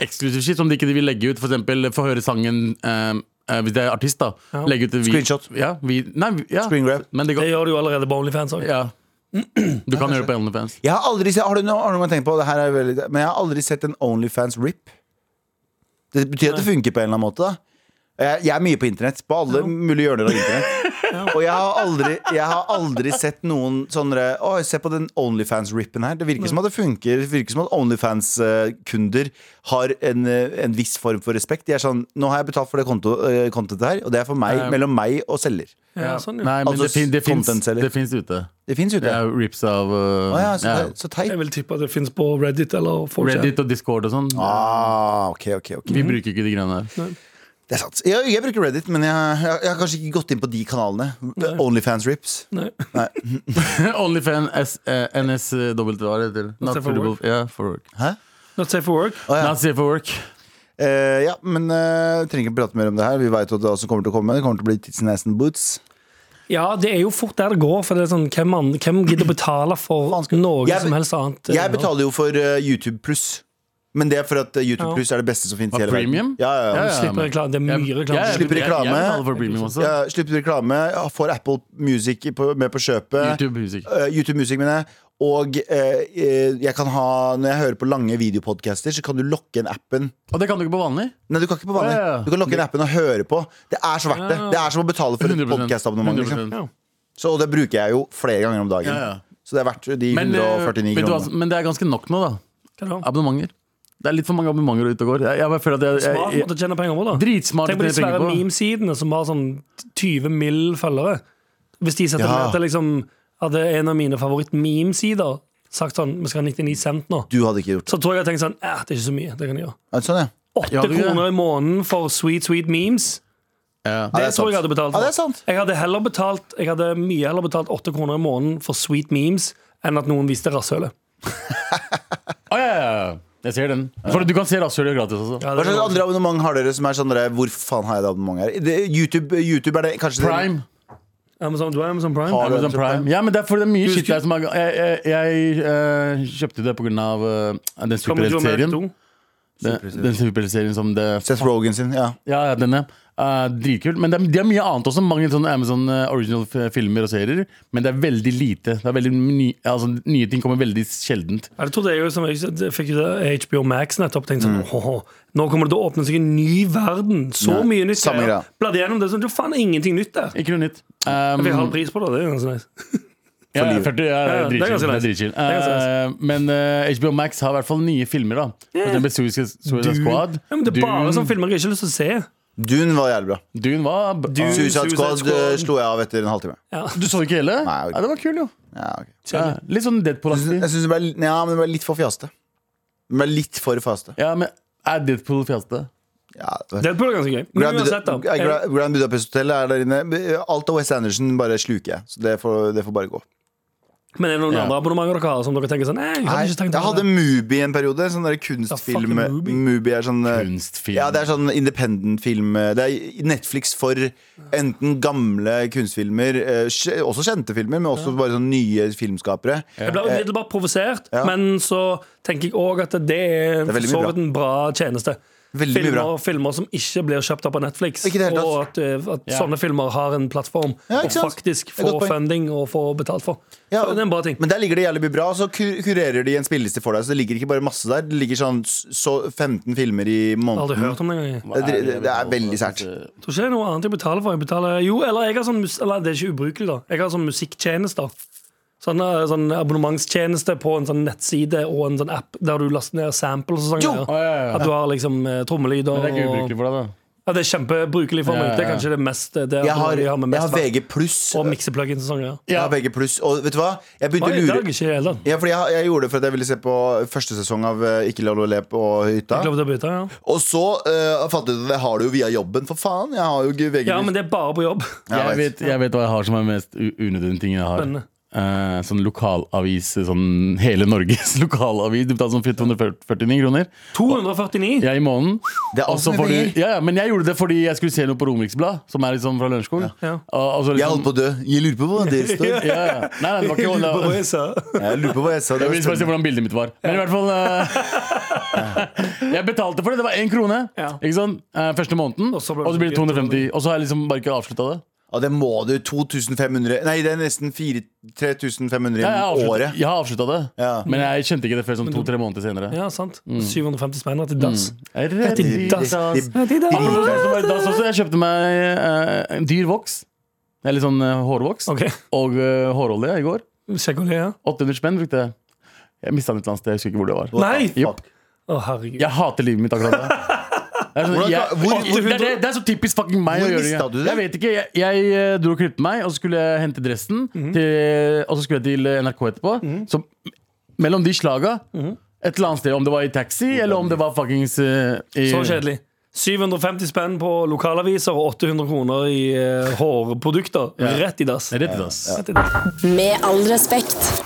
D: eksklusiv shit som de ikke vil legge ut. For eksempel få høre sangen eh, eh, hvis det er artist, da.
C: Ja.
D: Legge ut vi,
B: Screenshot.
D: Ja, vi, nei, vi- ja.
B: Screen grab.
D: Men det
C: Det
D: går,
C: gjør du jo allerede på Onlyfans òg.
D: ja. Du kan gjøre det på OnlyFans.
B: Jeg har aldri sett, har du noe, har du noen gang tenkt på det her er veldig, Men jeg har aldri sett en Onlyfans rip. Det betyr at det funker på en eller annen måte. da jeg, jeg er mye på internett. På alle mulige hjørner av internett. Og jeg har aldri, jeg har aldri sett noen sånne Oi, se på den Onlyfans-rippen her. Det virker som at det funker. Det virker som at Onlyfans-kunder har en, eh, en viss form for respekt. De er sånn Nå har jeg betalt for det konto, eh, contentet her, og det er for meg,
D: Ja.
B: mellom meg og selger.
C: Ja, sånn, ja.
D: Nei, men
B: Altså,
D: det, fin, det, fins,
B: content-selger.
D: det fins ute.
B: Det fins ute.
D: Det er rips av uh,
B: Å ja, så,
D: ja,
B: så teit.
C: Jeg vil tippe at det fins på Reddit eller 4chan.
D: Reddit og Discord og sånn.
B: Ah, ok, ok, ok
D: Vi bruker ikke de greiene der.
B: Det er sant. Jeg, jeg bruker Reddit, men jeg, jeg, jeg har kanskje ikke gått inn på de kanalene. Onlyfans rips.
C: Nei.
D: Onlyfan S- eh, NSW, hva heter det? Not
C: safe for
D: suitable-
C: work.
D: yeah, for work.
C: Not safe for work.
B: Ja.
D: Not safe for work.
B: Eh, ja, men eh, trenger ikke prate mer om det her. Vi veit hva som kommer til å komme. Det kommer til å bli Tits and Ass and Boots.
C: Ja, det er jo fort der det går. For det er sånn, hvem, an- hvem gidder å betale for noe
B: Jeg-
C: som helst annet?
B: Jeg betaler jo for eh, YouTube pluss. Men det er for at eh, YouTube
C: Ja.
B: pluss er det beste som finnes i
D: Hva,
B: hele verden.
D: premium?
B: Ja, ja, ja.
D: Ja, altså. ja.
C: Slipper reklame. Det er mye reklame.
D: Jeg- jeg-
B: Slipper
D: jeg-
B: reklame.
D: Jeg betaler for premium også.
B: Jeg slipper reklame. jeg Får Apple Music i- på, med på kjøpet.
D: YouTube Music.
B: Eh, YouTube Music, mener jeg. Og eh, eh, jeg kan ha, når jeg hører på lange videopodcaster, så kan du lokke inn appen.
D: Og det kan du ikke på vanlig.
B: Nei, du kan ikke på vanlig.
D: Ja, ja, ja.
B: Du kan lokke inn appen og høre på. Det er så verdt det. Det er som å betale for et
D: 100%.
B: podkastabonnement. Liksom.
D: 100%.
B: Så og det bruker jeg jo flere ganger om dagen.
D: Ja, ja.
B: Så det er verdt de
D: Men, eh,
B: 149
D: vet du hva,
B: kronene.
D: men det er ganske nok nå, da.
C: Hva da?
D: Abonnementer. Det er litt for mange abonnementer ute og går. Jeg, jeg bare føler at jeg,
C: Smart
D: jeg,
C: måte å tjene penger på, da.
D: Dritsmart
C: Tenk på de
D: tjener penger
C: svære
D: på.
C: memesidene som har sånn 20 mill. følgere. Hvis de setter
B: Ja.
C: ned til liksom Hadde en av mine favoritt-memesider sagt sånn Vi skal ha 99 cent nå.
B: Du hadde ikke gjort det.
C: Så tror jeg jeg tenkte sånn eh, Det er ikke så mye. Det kan jeg gjøre.
B: Ja, Sånn, ja.
D: Ja,
C: Åtte
D: det-
C: kroner i måneden for sweet, sweet memes.
D: Ja.
C: Det,
B: det er
C: tror jeg
B: sant.
C: jeg hadde
B: Ja,
C: betalt for.
B: det er sant.
C: Jeg hadde heller betalt Jeg hadde mye heller betalt åtte kroner i måneden for sweet memes enn at noen viste rasshølet.
D: Å, ja, ja, ja. Jeg ser den. For du kan se rasshølet gratis også.
C: Ja,
B: Hva
C: det
B: slags
C: var-
B: andre abonnement har dere som er sånn der, Hvor faen har jeg det abonnement her? Det, YouTube, YouTube er det kanskje det-
D: Prime.
C: Amazon, du har Amazon Prime?
B: Har du
D: Amazon
B: Amazon Prime?
D: Prime. Ja, men det er fordi det er mye
C: husker-
D: shit der som er Jeg, jeg, jeg eh, kjøpte det pga. Uh, den
C: Kommer du med
D: superheltserien.
C: to?
D: Den, den superheltserien som det
B: Seth Rogen sin. Ja.
D: Ja, ja, denne. Eh, dritkult. Men det er, det er mye annet også. Mange sånne Amazon eh, original f- filmer og serier. Men det er veldig lite. Det er veldig ny, altså, nye ting kommer veldig sjeldent.
C: Ja, det trodde jeg jo som jeg jeg fikk jo det HBO Max nettopp. Tenkte
B: Mm.
C: sånn, «Åhå, Nå kommer det til å åpne seg en ny verden. Så
B: Nei,
C: mye nytt.
B: samme greia.
C: greier.
B: Mm.
C: Bladde gjennom det sånn, det er faen ingenting nytt der.
D: Ikke noe nytt. Um,
C: Vi har halv pris på det. Det er ganske nice.
D: ja,
B: livet.
D: 40, ja,
C: Ja, det
D: det er
C: er
D: dritchill.
C: ganske
D: Det er
C: nice.
D: dritchill.
C: er ganske
D: Eh, men eh, HBO Max har i hvert fall nye filmer. da For eksempel Suicide Suicide Squad.
C: Ja, men det er bare sånn- sånne filmer jeg ikke har lyst til å se.
B: Dune var jævlig bra.
D: Dune var b-
C: Dune.
B: Suicide
C: Suicide
B: Squad
C: Squad.
B: eh, slo jeg av etter en halvtime.
C: Ja.
D: Du så ikke hele?
B: Nei, jeg-
D: ja, det var kul, jo.
B: Ja, ok.
D: Ja, litt sånn Deadpool-aktig.
B: Jeg synes det ble, ja, men det ble litt for fjaste. Det ble litt for fjaste.
D: Ja, men er Deadpool fjaste?
B: Ja, det var-
C: Deadpool er ganske gøy. Men
B: Grand,
C: uansett, da. Jeg,
B: Grand, Grand Budapest Hotel er der inne. Alt av West Anderson bare sluker jeg. Så det får, det får bare gå.
C: men er det noen
D: Ja.
C: andre abonnementer dere har som dere tenker sånn Nei, jeg
B: Nei,
C: hadde ikke tenkt
B: jeg hadde Mubi en periode. Sånn der kunstfilm.
C: Ja, fucking Mubi.
B: Mubi er sånn eh,
D: Kunstfilm.
B: ja, det er sånn independent film eh, Det er Netflix for enten gamle kunstfilmer, eh, kj- også kjente filmer, men også bare sånn nye filmskapere.
C: Jeg ble umiddelbart provosert,
B: Ja.
C: men så tenker jeg òg at det er,
B: Det er veldig mye
C: for så
B: bra.
C: vidt en bra tjeneste.
B: Veldig mye
C: filmer,
B: bra.
C: filmer som ikke blir kjøpt opp av Netflix.
B: Ikke i det hele
C: og at, eh, at
D: Ja.
C: sånne filmer har en plattform
B: Ja, ikke
C: og
B: sant?
C: faktisk
B: er et
C: får
B: godt poeng.
C: funding og får betalt for.
B: Ja,
C: så det er en bra ting.
B: Men der ligger det jævlig mye bra, og så ku- kurerer de en spilleliste for deg. Så det ligger ikke bare masse der. Det ligger sånn s- så 15 filmer i
C: Jeg har
B: måneden.
C: aldri hørt om det engang. jeg.
B: Det, er- det, det er veldig sært.
D: altså.
C: Jeg Tror ikke det er noe annet jeg betaler for. Jeg betaler, jo, eller jeg har sånn mus- Eller det er ikke ubrukelig, da. Jeg har sånn musikktjenester. Sånn, eh, sånn abonnementstjeneste på en sånn nettside og en sånn app der du laster ned samples og sånn.
B: Jo!
C: greier.
D: Å, ja, ja, ja.
C: At du har liksom eh, trommelyder
D: Men det er ikke
C: og-
D: ubrukelig for deg, da.
C: Ja, Det er kjempebrukelig for
D: Ja,
C: meg.
D: ja, ja.
C: Det er kanskje det mest det er
B: Jeg har,
C: de har med
B: jeg har
C: mest verk.
B: VG pluss.
C: Og mikseplugins og sånn greier.
B: Jeg har VG pluss. Og vet du hva? Jeg
C: Hva
B: begynte å
C: er i
B: lure
C: dag? Ikke i det hele tatt.
B: Ja, fordi jeg, jeg gjorde det for at jeg ville se på første sesong av eh, Ikke la noe le på hytta.
C: Lov til å bytte, ja.
B: Og så eh, fant jeg ut at jeg har det jo via jobben, for faen. Jeg har jo ikke VG+.
C: ja, men det er bare på jobb.
B: Ja,
D: Jeg
B: jeg
D: vet, jeg vet hva jeg har som er mest u- unødvendig ting jeg har.
C: Spennende.
D: Eh, sånn lokalavis, sånn hele Norges lokalavis. Du betaler sånn 449 kroner
C: 249.
D: ja, i måneden.
B: Det er alt
D: Og så
B: mye
D: får
B: penger.
D: du, ja, ja, men jeg gjorde det fordi jeg skulle se noe på Romeriksblad, som er liksom fra Lørenskog.
C: Ja.
D: Og- og så liksom-
B: Jeg holdt på å dø. Jeg lurer på hva det står.
D: ja, ja. Nei, nei, det var ikke det
B: Jeg lurer på
D: var-
B: hva jeg sa. Det
D: Jeg
B: var
D: vil bare se
B: spennende.
D: hvordan bildet mitt var. Men i hvert fall eh, Jeg betalte for det. Det var én krone
C: Ja.
D: ikke sant? Eh, første måneden.
C: Og
D: Og
C: så
D: så
C: ble det
D: blir det
C: mye.
D: 250. Og så har jeg liksom bare ikke avslutta det.
B: Ja, det må du. 2500 Nei, det er nesten 4 3500 i
D: Ja, jeg har avsluttet-
B: året.
D: Jeg har avslutta det,
B: Ja.
D: men jeg kjente ikke det før sånn to-tre måneder senere.
C: Ja, sant.
D: Mm.
C: 750 spenner til dass.
D: Jeg er redd i
C: dass.
D: Mm. dass.
C: Til dass.
D: Sånn som er dass også. Jeg kjøpte meg eh, en dyr voks, eller sånn eh, hårvoks,
C: Ok,
D: og eh, hårolje i går.
C: sjekk om det, ja.
D: 800 spenn brukte jeg. Jeg mista den et eller annet sted. Jeg husker ikke hvor det var.
C: Nei!
B: Fuck.
C: Å, herregud.
D: Jeg hater livet mitt akkurat nå. Det er, sånn,
B: Hvordan-
D: jeg,
B: hvor-
D: det, er, det, det er så typisk fucking meg
B: Hvor
D: å gjøre
B: mistet du det?
D: Jeg vet ikke, jeg, jeg eh, dro og klippet meg, og så skulle jeg hente dressen.
B: Mhm.
D: til, og så skulle jeg til eh, NRK etterpå. Så m- mellom de slaga
B: Mhm.
D: Et eller annet sted, om det var i taxi, eller om det var fuckings eh, i-
C: Så kjedelig. 750 spenn på lokalaviser og 800 kroner i eh, hårprodukter. Rett i dass.
D: Rett ut, ass.
C: Rett i dass.
F: Med all respekt.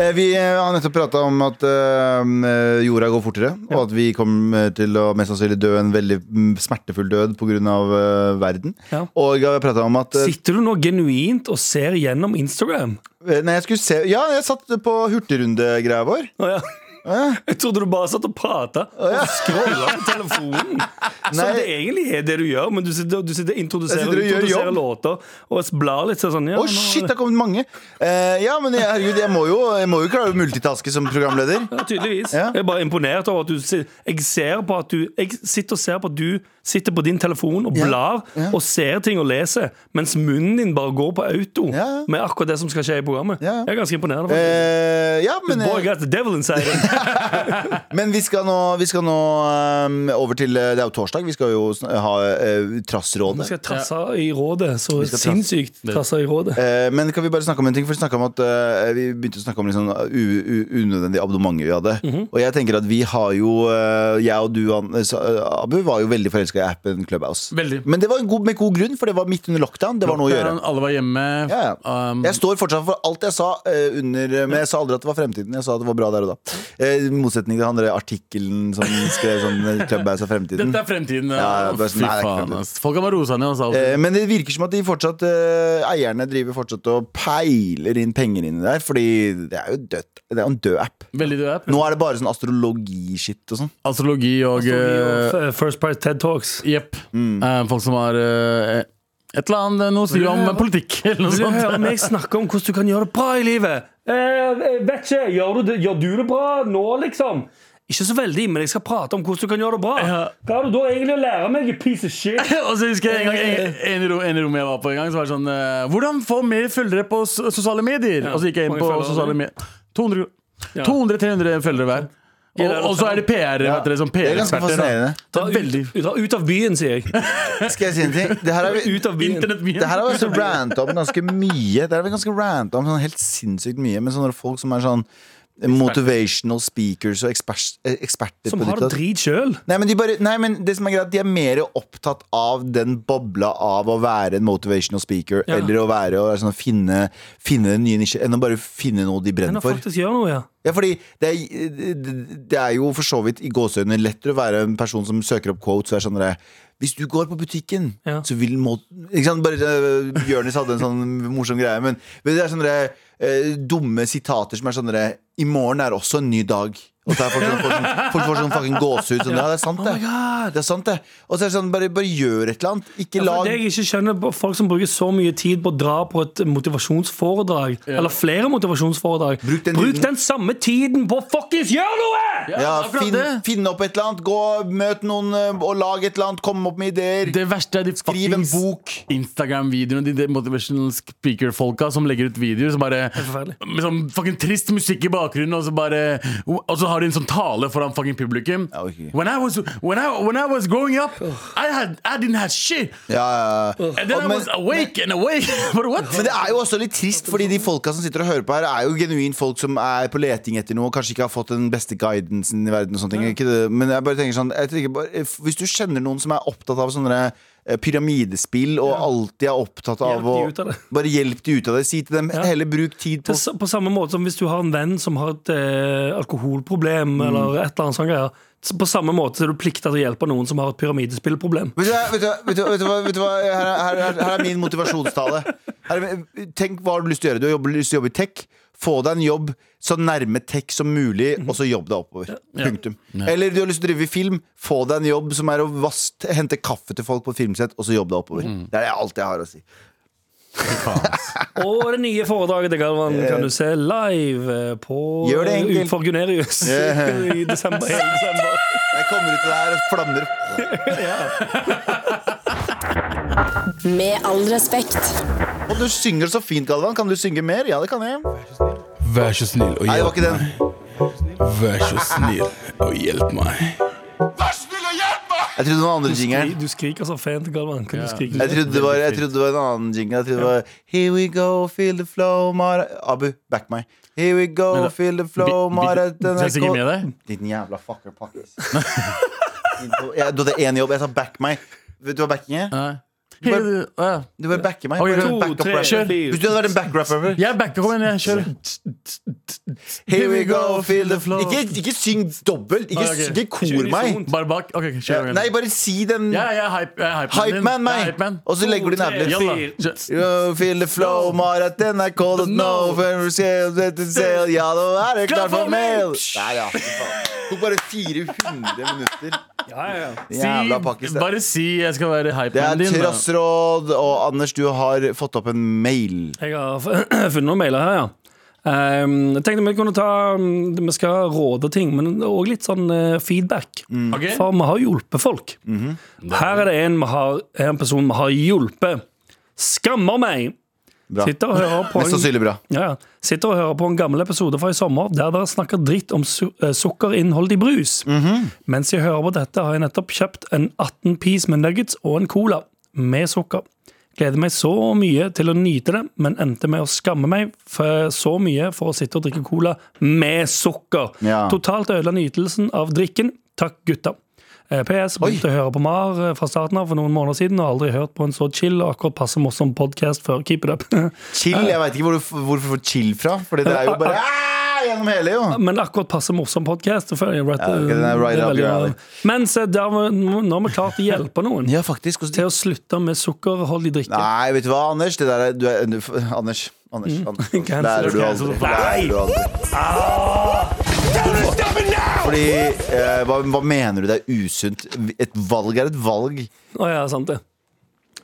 B: Eh, Vi eh, har nettopp prata om at eh, jorda går fortere, og at vi kommer til å mest sannsynlig dø en veldig mm, smertefull død pga. Uh, verden.
C: Ja.
B: Og jeg har pratet om at eh,
C: Sitter du nå genuint og ser gjennom Instagram?
B: Nei, jeg skulle se Ja, jeg satt på hurtigrundegreia vår. Eh,
C: Å, ja. Jeg trodde du bare satt og prata og scrolla på telefonen. Så
B: Nei.
C: det egentlig er det du gjør, men du sitter du sitter og introduserer,
B: Jeg sitter og gjør
C: introduserer
B: jobb.
C: låter og blar litt sånn. Ja,
B: Å,
C: nå-
B: shit, det har kommet mange! Eh, ja, men jeg, herregud, jeg må, jo, jeg må jo klare å multitaske som programleder.
C: Ja, tydeligvis.
B: Ja.
C: Jeg er bare imponert over at du si- Jeg ser på at du Jeg sitter og ser på at du sitter på din telefon og blar og ser ting og leser, mens munnen din bare går på auto
B: Ja.
C: med akkurat det som skal skje i programmet.
B: Ja.
C: Jeg er ganske imponert. faktisk.
B: Eh, ja, men, eh,
C: Boy got the devil inside him.
B: men vi skal nå, vi skal nå eh, over til eh, Det er jo torsdag. Vi skal jo sn- ha eh, Trassrådet.
C: Vi skal trasse i rådet. Så
B: skal trasse-
C: sinnssykt trasse i rådet.
B: Eh, Men kan vi bare snakke om en ting? For Vi, snakket om at, eh, vi begynte å snakke om liksom, u- u- unødvendige abonnementer vi hadde.
D: Mhm.
B: Og jeg tenker at vi har jo eh, Jeg og du, An- eh, sa- eh, Abu, var jo veldig forelska i appen Clubhouse.
D: Veldig.
B: Men det var en god, med god grunn, for det var midt under lockdown. Det var noe å gjøre.
D: Alle var hjemme.
B: Ja, ja.
D: Um,
B: jeg står fortsatt for alt jeg sa eh, under Men jeg sa aldri at det var fremtiden. Jeg sa at det var bra der og da. Eh, I motsetning til han derre artikkelen som skrev sånn eh, Clubhouse er fremtiden.
D: dette er fremtiden.
B: Ja, ja,
D: Å,
B: bare sånn,
D: Fy
B: nei, det er ikke
D: faen,
B: fremtiden.
D: ass. Folk har bare rosa ned og sa
B: Eh, Men det virker som at de fortsatt eh, eierne driver fortsatt og peiler inn penger inni der, fordi det er jo dødt. Det er jo en død app.
D: Veldig død app.
B: Nå er det bare sånn astrologi-shit og sånn.
D: Astrologi og eh,
C: First Price TED Talks.
D: Jepp.
B: Mm.
D: Eh, folk som har eh, et eller annet eh, noe sier om
C: høre-
D: politikk eller noe
C: Vil du
D: sånt.
C: høre meg snakke om hvordan du kan gjøre det bra i livet? Eh, jeg vet ikke. Gjør du, det, gjør du det bra nå, liksom? Ikke så veldig, men jeg skal prate om hvordan du kan gjøre det bra.
D: Ja.
C: Hva har du da egentlig å lære meg, you piece of shit?
D: Og så husker jeg en gang en,
C: Eh.
D: en, i rom, en i rommet jeg var på en gang, så var det sånn eh, Hvordan få mer følgere på s sosiale medier? og så gikk jeg inn
C: mange
D: på
C: følgere
D: sosiale
C: hadde
D: medier 200 200-300 følgere hver. Og,
C: det er
D: og så er det PR.
B: Ja.
D: Vet dere, sånn
B: Det er ganske
D: PR-eksperter. da.
B: fascinerende.
C: Dra ut,
D: veldig.
C: dra ut av byen, sier jeg.
B: Skal jeg si en ting? Det her er vi
C: Ut av
B: det
C: byen.
B: her
D: Internettmien.
B: har vi også ranta om ganske mye. Det har vi ganske ranta om sånn helt sinnssykt mye med sånne folk som er sånn motivational speakers og ekspers, eh, eksperter
C: Som
B: på ditt
C: har
B: og
C: det
B: datt.
C: drit sjøl.
B: Nei, men, de bare, nei, men det som er greit, de er mer opptatt av den bobla av å være en motivational speaker
C: Ja.
B: eller å være å sånn, finne, finne nye nisjer, enn å bare finne noe de
C: Men
B: brenner
C: han
B: for.
C: faktisk gjør noe, ja.
B: Ja, fordi det er, det er jo for så vidt i gåseøynene lettere å være en person som søker opp quotes og er sånn der, Hvis du går på butikken,
C: Ja.
B: så vil må... Ikke sant? Bare øh, Jonis hadde en sånn morsom greie, men, men det er sånne der, øh, dumme sitater som er sånn der, I morgen er også en ny dag. Og så er folk, sånn, folk, sånn, folk får sånn fucking gåsehud. Sånn, ja, det er sant, det. det er sant, det. Og så er det sånn, bare, bare gjør et eller annet. Ikke
C: For
B: lag
C: det jeg ikke skjønner på Folk som bruker så mye tid på å dra på et motivasjonsforedrag, eller flere motivasjonsforedrag,
B: Bruk den tiden.
C: samme tiden på å fuckings gjøre noe!
B: ja,
D: akkurat
B: finn,
D: det.
B: finn opp et eller annet. Gå, møt noen øh, og lag et eller annet. Kom opp med ideer.
D: Det verste er de
B: Skriv en
D: fuckings
B: bok.
D: Instagram-videoene De, de motivational speaker-folka som legger ut videoer som bare
C: forferdelig.
D: Med sånn fucking trist musikk i bakgrunnen, og så bare Og så har de en sånn tale foran fucking publikum.
B: Ja, ok.
D: When I was When I, when I was growing up, I, had, I didn't have shit.
B: Ja, ja, ja.
D: And then
B: Og-
D: I was awake and awake. But what?
B: Men det er jo også litt trist, fordi de folka som sitter og hører på her, er jo genuint folk som er på leting etter noe, og kanskje ikke har fått den beste guidancen i verden. og sånne ting ikke det, Men jeg bare tenker sånn jeg tenker bare, if- Hvis du kjenner noen som er opptatt av sånne eh, pyramidespill, og alltid er opptatt av
C: Hjelp de
B: å
C: ut av det.
B: Bare hjelp de ut av det. Si til dem heller bruk tid på
C: Til, sa- på samme måte som hvis du har en venn som har et eh, alkoholproblem,
B: Mm.
C: eller et eller annet sånt greier. Så På samme måte er du plikta til å hjelpe noen som har et pyramidespillproblem.
B: Vet du, hva- vet du, hva- vet du, hva- vet du, hva- vet du hva, her, er- her, er- her er min motivasjonstale. Her er, min- tenk hva har du lyst til å gjøre. Du har jobb- lyst til å jobbe i tech. Få deg en jobb så nærme tech som mulig, og så jobb deg oppover. Punktum. Eller du har lyst til å drive i film, få deg en jobb som er å vask, hente kaffe til folk på filmsett, og så jobb deg oppover. Det er alt jeg har å si.
C: Og det nye foredraget til Galvan kan du se live eh, på
B: Gjør det enkelt.
C: utenfor Gunerius i desember. hele desember.
B: Jeg kommer ut av det her og flammer opp.
F: Med all respekt.
B: Og du synger så fint, Galvan. Kan du synge mer? Ja, det kan jeg. Nei,
G: Vær så snill og
B: det var
G: hjelp
B: ikke den.
G: meg. Vær så snill og hjelp meg.
B: Jeg trodde det var den andre jingeren.
C: Du skriker så fint, Galvan. Kan du skrike?
B: Jeg trodde, det var, jeg trodde det var en annen jingle. Jeg trodde det var Here we go, feel the flow, Mara Abu, back meg. Here we go,
D: Men eh, da-
B: feel the flow, Mara
D: Skal jeg synge med deg?
B: Din jævla fucker pakkis. jeg, du hadde én jobb. Jeg sa back meg. Vet du hva backing er?
D: Nei. Hele, å, ja.
B: Du bare backer meg.
D: Ok,
B: Bare
D: to,
B: back up
C: tre,
B: rapper.
C: kjør.
B: Hvis du hadde vært en backrapper
D: Jeg backer, kom igjen. jeg Kjør.
B: Here we go, feel the flow Ikke, ikke syng dobbelt. Ikke,
D: Ah, ok.
B: ikke kor meg.
D: Bare bak. Ok, kjør.
B: Nei, bare si den
D: Ja, jeg er hype, jeg er hype,
B: hype man
D: Jeg er
B: meg.
D: hype man.
B: Og så legger du den
C: To,
B: appen.
C: tre,
D: Jalla.
C: fire.
D: Kjør.
B: You feel the flow, Marat, den er cold as no Før skal dette sel, ja, da er det klart for mail Der, ja, fy faen Tok bare 400 minutter
C: Ja, ja, ja.
B: Jævla
D: Si,
B: Pakistan
D: bare si jeg skal være hype
B: Det er
D: man din. da.
B: trassråd, og Anders, du har fått opp en mail
C: Jeg har funnet noen mailer her, ja. Ehm, jeg tenkte vi kunne ta mm, Vi skal råde ting, men òg litt sånn eh, feedback.
B: Mm.
D: Ok?
C: For vi har hjulpet folk. Her er det en, vi har, en person vi har hjulpet. Skammer meg!
B: Bra,
C: Sitter og hører på
B: mest
C: en,
B: sannsynlig bra
C: ja, ja. sitter og hører på en gammel episode fra i sommer der dere snakker dritt om su eh, sukkerinnhold i brus. Mens jeg hører på dette, har jeg nettopp kjøpt en 18 piece med nuggets og en cola med sukker. Gleder meg så mye til å nyte det, men endte med å skamme meg for så mye for å sitte og drikke cola med sukker.
B: Ja.
C: Totalt ødela nytelsen av drikken. Takk, gutta. Eh, PS. Begynte å høre på Mar eh, fra starten av for noen måneder siden og har aldri hørt på en så chill og akkurat passe morsom podkast før. Keep it up.
B: Chill, jeg vet ikke hvor du, f- hvor du får chill fra Fordi det er jo bare ah, gjennom hele jo
C: Men akkurat passe morsom podkast.
B: ok, den
C: eh,
B: er right up your alley.
C: Men se, der, var- nå har vi klart å hjelpe noen
B: Ja, faktisk, hvordan
C: til å slutte med sukkerholdig drikke.
B: Nei, vet du hva, Anders Det der er, du er du- Anders, Anders,
C: Mm.
B: Anders Lærer du
C: Cancel.
B: aldri Lærer du aldri Fordi, eh, hva, hva mener du det er usunt? Et valg er et valg.
C: Å ja, sant det.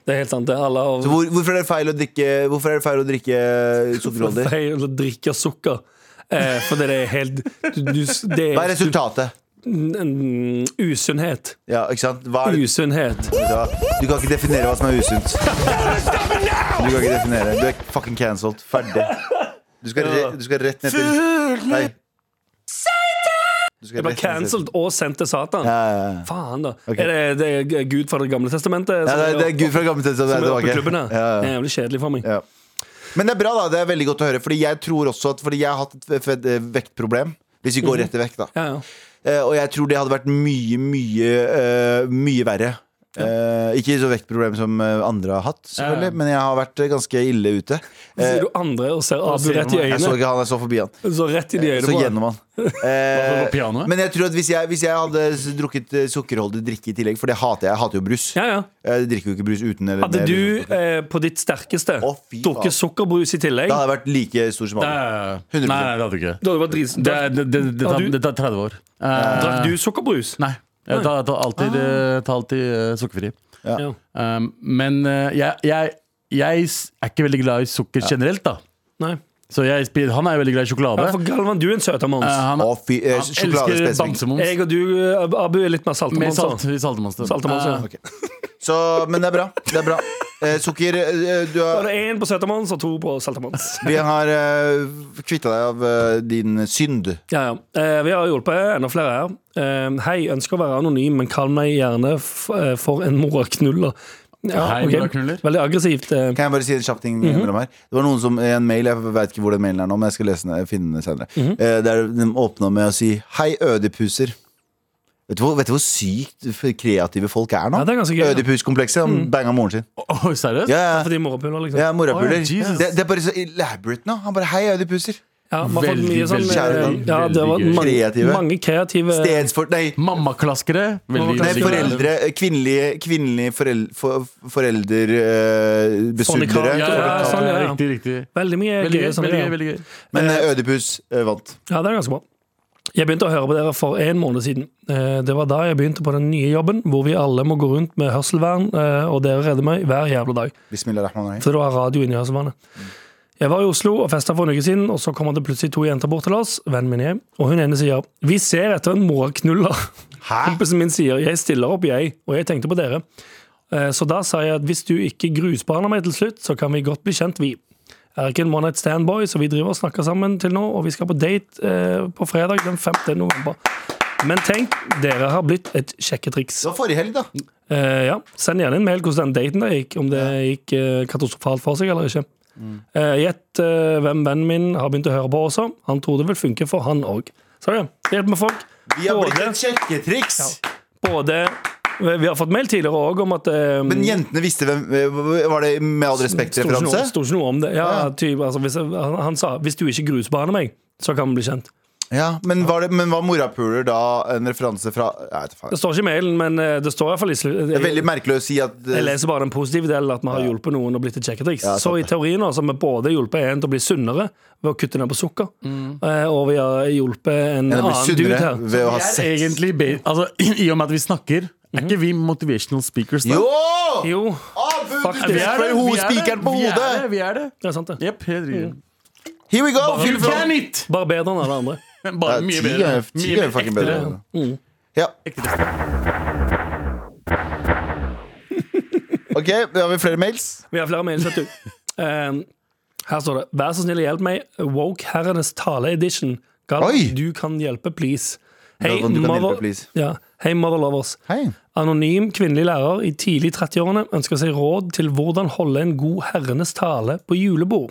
C: Det er helt sant, det. Alle
B: Så
C: har
B: hvor, hvorfor er det feil å drikke Hvorfor er det feil å drikke eh, sukkerholdig?
C: feil å drikke sukker. Eh, for det er helt du, du, Det
B: Hva er
C: er
B: resultatet?
C: Mm, usunnhet.
B: Ja, ikke sant? Hva er det?
C: Usunnhet.
B: Du kan ikke definere hva som er usunt. Du kan ikke definere. Du er fucking cancelled. Ferdig. Du skal, re, du skal rett ned til Nei. Du skal
C: Det
B: rett
C: var
B: ned til
C: cancelled og sendt til Satan.
B: ja, ja, ja.
C: Faen, da. Er det, det er Gud fra Det gamle testamentet?
B: Ja,
C: som
B: det, er, det er Gud fra gamle tider.
C: som er oppe i klubben,
B: tilbake.
C: da?
B: Ja, ja.
C: Det er Jævlig kjedelig for meg.
B: Ja. Men det er bra, da. Det er veldig godt å høre. Fordi jeg tror også at Fordi jeg har hatt et fe- fe- vektproblem. Hvis vi
C: Mhm.
B: går rett til vekt, da.
C: Ja, ja.
B: Eh, og jeg tror det hadde vært mye, mye, eh, mye verre. Eh, ikke så vektproblem som eh, andre har hatt, selvfølgelig, men jeg har vært eh, ganske ille ute. Eh,
C: Sier du andre og ser Abu
D: ser
C: rett i
D: man-
B: jeg så
C: øynene.
B: ikke han, jeg så forbi han.
C: Så rett i de øynene
B: Så
C: på han.
B: gjennom han. Eh,
D: På pianoet?
B: men jeg tror at hvis jeg, hvis jeg hadde s- drukket eh, sukkerholdig drikke i tillegg, for det hater jeg, jeg hater jo brus. Eh,
C: Ja, ja.
B: Jeg drikker jo ikke brus uten eller
C: Hadde
B: med
C: du
B: brus.
C: eh, på ditt sterkeste
B: Å, fy faen.
C: drukket sukkerbrus i tillegg
B: Da hadde jeg vært like stor som
D: Nei,
B: alle.
D: nei,
B: 100%.
D: nei, det hadde du ikke.
C: Da hadde det vært drits-
D: Det, er- det, det, det,
C: Har
D: tar,
C: du-
D: det tar 30 år. Eh,
C: Drakk du sukkerbrus?
D: Nei. Jeg tar, tar alltid,
C: Ah.
D: eh, tar alltid eh, sukkerfri.
C: Ja.
D: Um, men eh, jeg, jeg, jeg s- er ikke veldig glad i sukker generelt, da.
C: Nei.
D: Så jeg, spiser- han er veldig glad i
C: Ja,
D: sjokolade.
C: for Galvan, du er en
D: Eh,
C: søtermanns.
D: han,
B: Å, fy, eh,
D: han elsker
B: sjokoladespesifikk.
D: bamsemums.
C: Jeg og du, eh, Abu, er litt mer
D: Med
C: saltemanns.
D: salt,
C: da.
D: saltemonster.
C: Saltemanns, ja.
D: Eh,
B: Ok. Så, men det er bra. Det er bra. Eh, sukker eh, du
C: Da
B: har,
C: er det én på søtermanns og to på saltemanns.
B: Vi har eh, kvitta deg av eh, din synd.
C: Ja, ja. Eh, vi har hjulpet enda flere her. Eh, hei, ønsker å være anonym, men kall meg gjerne f eh, for en moraknuller. Ja,
D: Hei,
C: ok.
D: moraknuller.
C: Veldig aggressivt. eh.
B: Kan jeg bare si en kjapp ting mellom her? Det var noen som, en mail, Jeg vet ikke hvor den mailen er nå, men jeg skal lese den, finne den senere.
C: Mhm.
B: Eh, der de åpna med å si 'Hei, ødepuser'. Vet du, hvor, vet du hvor sykt kreative folk er nå?
C: Ja, det er ganske gøy, ja. Mhm.
B: Ødipuskomplekset. Han banga moren sin.
D: Eh, Oi, seriøst?
B: Ja, ja.
C: Fordi morapuler, liksom.
B: ja morapuler.
D: Å, ja, Jesus.
B: det, det er bare så elaborate nå. Han bare 'Hei, ødepuser'.
C: Ja, vi har fått mye
D: Veldig,
C: sånn
D: veldig,
C: eh, Ja, det var
D: veldig gøy.
C: mange
B: Kreative.
C: kreative. Mange kreative
B: Stedsfor... Nei,
D: Mammaklaskere. Veldig
B: nei
C: Mammaklaskere.
D: digg.
B: foreldre eh, Kvinnelige, kvinnelige forel, for, eh, foreldrebesudlere.
C: Fornikat,
D: Ja,
C: Ja, sånn, ja, ja.
D: Riktig, riktig.
C: Veldig sånn, mye
D: Veldig gøy.
C: gøye sånne
D: veldig gøy,
C: greier.
D: veldig gøy.
B: Men eh, Ødipus eh, vant.
C: Ja, det er ganske bra. Jeg begynte å høre på dere for en måned siden. Eh, Det var da jeg begynte på den nye jobben, hvor vi alle må gå rundt med hørselvern, eh, og dere redder meg hver jævla dag.
B: Bismillahirrahmanirrahim.
C: For det var radio inni hørselvernet. Jeg var i Oslo og festa for en uke siden, og så kommer det plutselig to jenter bort til oss, vennen min og jeg, og hun ene sier 'Vi ser etter en morknuller'.
B: Ah.
C: Kompisen min sier 'Jeg stiller opp, jeg', og jeg tenkte på dere. Eh, Så da sa jeg at hvis du ikke grusbaner meg til slutt, så kan vi godt bli kjent, vi. Jeg er ikke en one night stand-boy, så vi driver og snakker sammen til nå, og vi skal på date eh, på fredag den 5. november. Men tenk, dere har blitt et sjekketriks.
B: Det var forrige helg, da.
C: Eh, ja, Send gjerne en mail hvordan den daten der gikk, om det gikk eh, katastrofalt for seg eller ikke. Eh, Gjett eh, hvem vennen min har begynt å høre på også. Han tror det vil funke for han òg. Så ja, det hjelper med folk.
B: Vi har blitt
C: Både-
B: et sjekketriks!
C: Både Vi har fått mail tidligere òg om at eh,
B: Men jentene visste hvem eh, Var det med all
C: sto ikke noe-
B: respekt-referanse?
C: Sto ikke noe om det. Ja,
B: Ja.
C: typ, altså, hvis, han, han sa 'hvis du ikke grusbaner meg, så kan vi bli kjent'.
B: Ja, men var, det, men var morapuler da en referanse fra Jeg vet da
C: Det
B: faen.
C: står ikke i mailen, men eh, det står iallfall i slutten.
B: Det er veldig merkelig å si at
C: Jeg
B: eh,
C: leser bare den positive delen, at vi har hjulpet noen og blitt et sjekketriks.
B: Ja, sant
C: så i
B: det.
C: teorien altså, har vi både hjulpet en til å bli sunnere ved å kutte ned på sukker, eh, og vi har hjulpet en
B: en blir
C: annen dude
B: sunnere
C: her.
B: ved å ha
D: Det er
B: sex.
D: egentlig be- altså, I og med at vi snakker, er ikke vi motivational speakers?
B: Mhm.
D: Da?
B: Jo!
C: Jo,
B: Abu, du
C: Faktisk.
D: vi
B: treffer
D: er det!
B: ho-
D: Vi er
B: spikeren
D: det!
B: på
D: vi Er det,
B: hodet! Mm.
D: vi er det.
C: det er sant det.
D: Jepp, helt riktig.
B: Here we go!
D: You
B: Fyll fra.
D: can it!
C: Bare bedre enn alle andre.
D: Bare mye
B: Ti
D: bedre.
B: ganger- ti ganger fucking bedre.
C: Mm.
B: Ja. OK, da har vi flere mails.
C: Vi har flere mails, vet du. Eh, her står det 'Vær så snill, hjelp meg'. Woke herrenes tale-edition.
B: Oi!
C: Galvan, du kan hjelpe, please. Hei,
B: Galvan, du kan
C: mother-
B: hjelpe, please.
C: Ja. Hei, mother lovers.
B: Hei.
C: Anonym kvinnelig lærer i tidlig 30-årene ønsker seg råd til hvordan holde en god herrenes tale på julebord.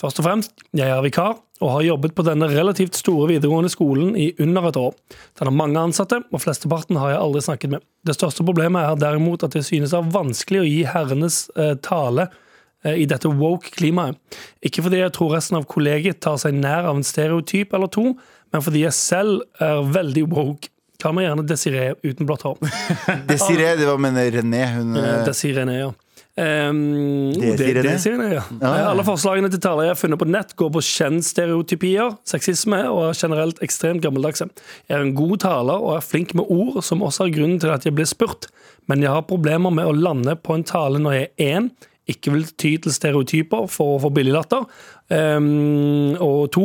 C: Først og fremst, jeg er vikar og har jobbet på denne relativt store videregående skolen i under et år. Den har mange ansatte, og flesteparten har jeg aldri snakket med. Det største problemet er derimot at jeg synes det er vanskelig å gi herrenes eh, tale eh, i dette woke klimaet. Ikke fordi jeg tror resten av kollegiet tar seg nær av en stereotyp eller to, men fordi jeg selv er veldig woke. Kan man gjerne desiree uten blått hår.
B: Desiree, det var mener René. Hun
C: Eh,
B: eh,
C: Desirene, ja. Um,
B: Desirene?
C: Desirene, ja. Eh, Alle forslagene til taler jeg har funnet på nett, går på kjønnsstereotypier, sexisme og er generelt ekstremt gammeldagse. Jeg er en god taler og er flink med ord, som også er grunnen til at jeg blir spurt. Men jeg har problemer med å lande på en tale når jeg er én, ikke vil ty til stereotyper for å få billig latter, um, og to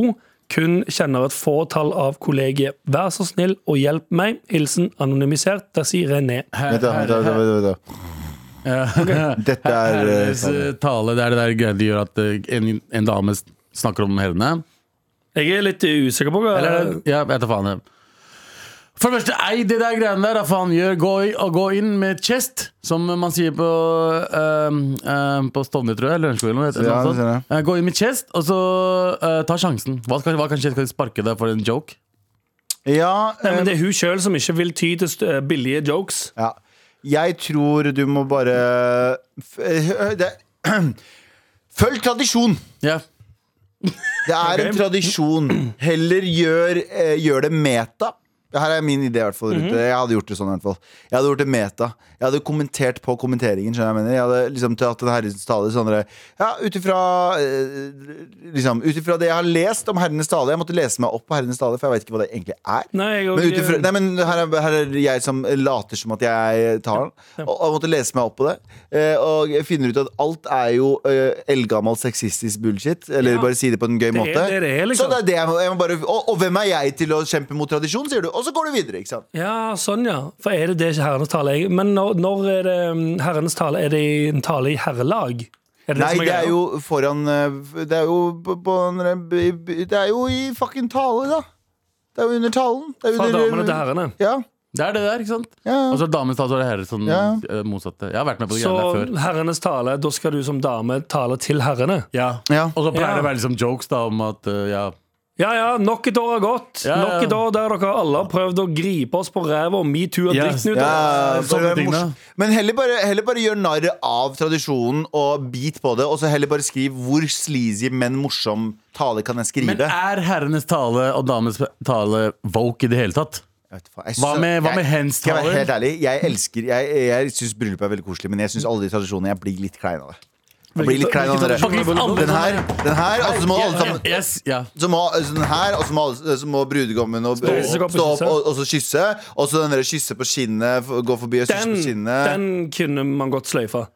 C: kun kjenner et fåtall av kollegiet. Vær så snill og hjelp meg. Hilsen anonymisert Desirene.
B: Vent, da, vent, da, vent, da, vent, da. Dette er, eh,
D: Herrenes eh, tale. Det er det der greia de gjør at eh, en, en dame s- snakker om herrene.
C: Jeg er litt usikker på hva
D: Eller er det- Eh, Ja, vet da faen. jeg. For det første, ei, det der greiene der, hva faen gjør gå, i, å gå inn med chest, som man sier på, ehm, ehm, på Stovner, tror jeg, eller Lørenskog eller noe.
B: Ja,
D: noe
B: det ser jeg.
D: sånt. Eh, gå inn med chest, og så eh, ta sjansen. Hva kan, hva kan skje? Skal de sparke deg for en joke?
B: Ja,
C: Nei,
B: eh,
C: men Det er hun sjøl som ikke vil ty til st- eh, billige jokes.
B: ja. Jeg tror du må bare f- eh, det, Følg tradisjon!
D: Ja.
B: Det er en tradisjon. Heller gjør, eh, gjør det meta. Her er min idé, i hvert fall. Ruth. Jeg hadde gjort det sånn. i hvert fall Jeg hadde gjort det meta. Jeg hadde kommentert på kommenteringen. skjønner du hva Jeg mener Jeg hadde liksom tatt en herrens tale sånn der, Ja, ut ifra eh, liksom, ut ifra det jeg har lest om herrenes tale Jeg måtte lese meg opp på herrenes tale, for jeg vet ikke hva det egentlig er.
C: Nei, jeg,
B: Men, ut ifra- nei, men her, er, her er jeg som later som at jeg tar den. Og, og måtte lese meg opp på det. Eh, og jeg finner ut at alt er jo eh, eldgammel sexistisk bullshit. Eller
C: Ja.
B: bare si det på en gøy
C: er
B: måte.
C: det det er,
B: Så
C: liksom.
B: det er det jeg må, jeg må bare og, og hvem er jeg til å kjempe mot tradisjon, sier du. Og så går du videre, ikke sant.
C: Ja, sånn, ja. For er det det ikke herrenes tale er? Men når, når er det mm, herrenes tale? Er det i en tale i herrelag? Er det
B: Nei,
C: som
B: det er
C: greia?
B: jo foran eh, Det er jo på, på en, Det er jo i fucking tale, da. Det er jo under talen. Det er
C: Fra
B: under,
C: damene Altså, til herrene.
B: Ja.
D: Det er det der, ikke sant?
B: ja.
D: Og så damens tale, så er det herre sånn
B: Ja.
D: eh, motsatte. Jeg har vært med på det
C: Så
D: greiene der før.
C: herrenes tale, da skal du som dame tale til herrene?
D: Ja.
B: Ja.
D: Og så pleier
C: Ja.
D: det å være liksom jokes da om at eh, ja,
C: Ja, ja, nok et år har gått.
D: Ja, ja.
C: Nok et år der dere alle har prøvd å gripe oss på ræva og metoo og
D: Ja.
C: dritten ut.
B: Ja,
D: Sånne
B: bare
D: ting,
B: mors-
D: da.
B: Men heller bare, heller bare gjør narr av tradisjonen og bit på det, og så heller bare skriv 'Hvor sleazy, men morsom tale kan jeg
D: Men eh,
B: skrive?'
D: er herrenes tale og damenes tale woke i det hele tatt?
B: Jeg vet faen, jeg
D: Hva
B: synes-
D: med- hva
B: jeg-
D: med hens
B: Skal jeg være
D: taler?
B: helt ærlig? Jeg elsker Jeg, jeg syns bryllup er veldig koselig, men jeg syns alle de tradisjonene Jeg blir litt klein av det. Jeg blir litt klein av dere.
D: Faktisk alle
B: Den her, den her og så må alle sammen
D: Yes, ja.
B: så må, så den her, og så må, alle- så må brudgommen og,
C: opp.
B: stå opp og, og, så kysse. Og så den der kysse på kinnet, f- gå forbi og kysse
C: Den,
B: på kinnet.
C: den kunne man godt sløyfa.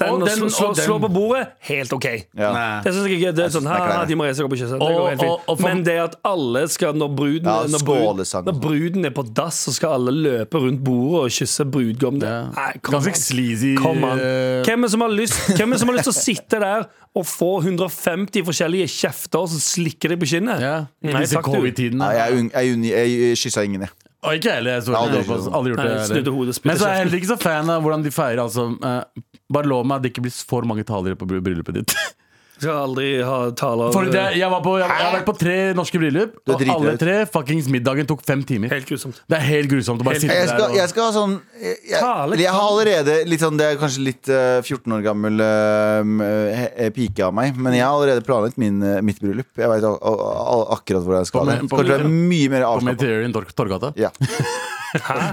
C: Den,
D: Og
C: å
D: den-
C: slå, slå,
D: og den.
C: slå på bordet, helt OK.
B: Ja.
C: Det synes jeg ikke det er sånn,
B: det er
C: «Ha, ha,
B: kleine.
C: De må reise seg opp og kysse. Det
D: Og-
C: går helt
D: og- og
C: fint.
D: for-
C: Men det at alle skal, når bruden,
B: Ja,
C: når, bruden,
B: skålesang.
C: når bruden er på dass, så skal alle løpe rundt bordet og kysse brudgommen.
D: Ja.
C: Nei, kom
D: Ganske
C: an.
D: sleazy.
C: Kom an.
D: eh,
C: Hvem er som har lyst Hvem er som har lyst til å sitte der og få 150 forskjellige kjefter som slikker deg på kinnet?
D: ja. I
C: Nei,
D: disse
C: takk, du.
D: covid-tiden.
B: Nei, jeg, unn- jeg, unn- jeg kyssa ingen, jeg.
D: Og ikke heller, jeg så
B: Nei, aldri
D: jeg
B: gjort det.
D: har aldri gjort
C: Nei,
D: det.
C: snudde
D: heller.
C: hodet, spyttet
D: Men så er jeg
C: kjeften.
D: heller ikke så fan av hvordan de feirer. Altså, eh, bare lov meg at det ikke blir for mange taler på bry- bryllupet ditt.
C: Skal aldri ha taler
D: For det, jeg, var på, jeg, jeg har vært på tre norske bryllup,
B: Du er
D: og
B: dritredd.
D: alle tre fuckings middagen tok fem timer.
C: Helt grusomt.
D: Det er helt grusomt å bare sitte
B: Jeg
D: der
B: skal,
D: og
B: jeg skal ha sånn jeg,
C: Tale
B: jeg, jeg har allerede litt sånn Det er kanskje litt eh, 14 år gammel eh, he- he- pike av meg, men jeg har allerede planlagt min, eh, mitt bryllup. Jeg veit akkurat hvor jeg skal
D: På
B: ha det.
D: med- på
B: Kommer til å være mye mer
D: på
B: avslappet.
D: Meteorian Tor Torgata
B: Ja.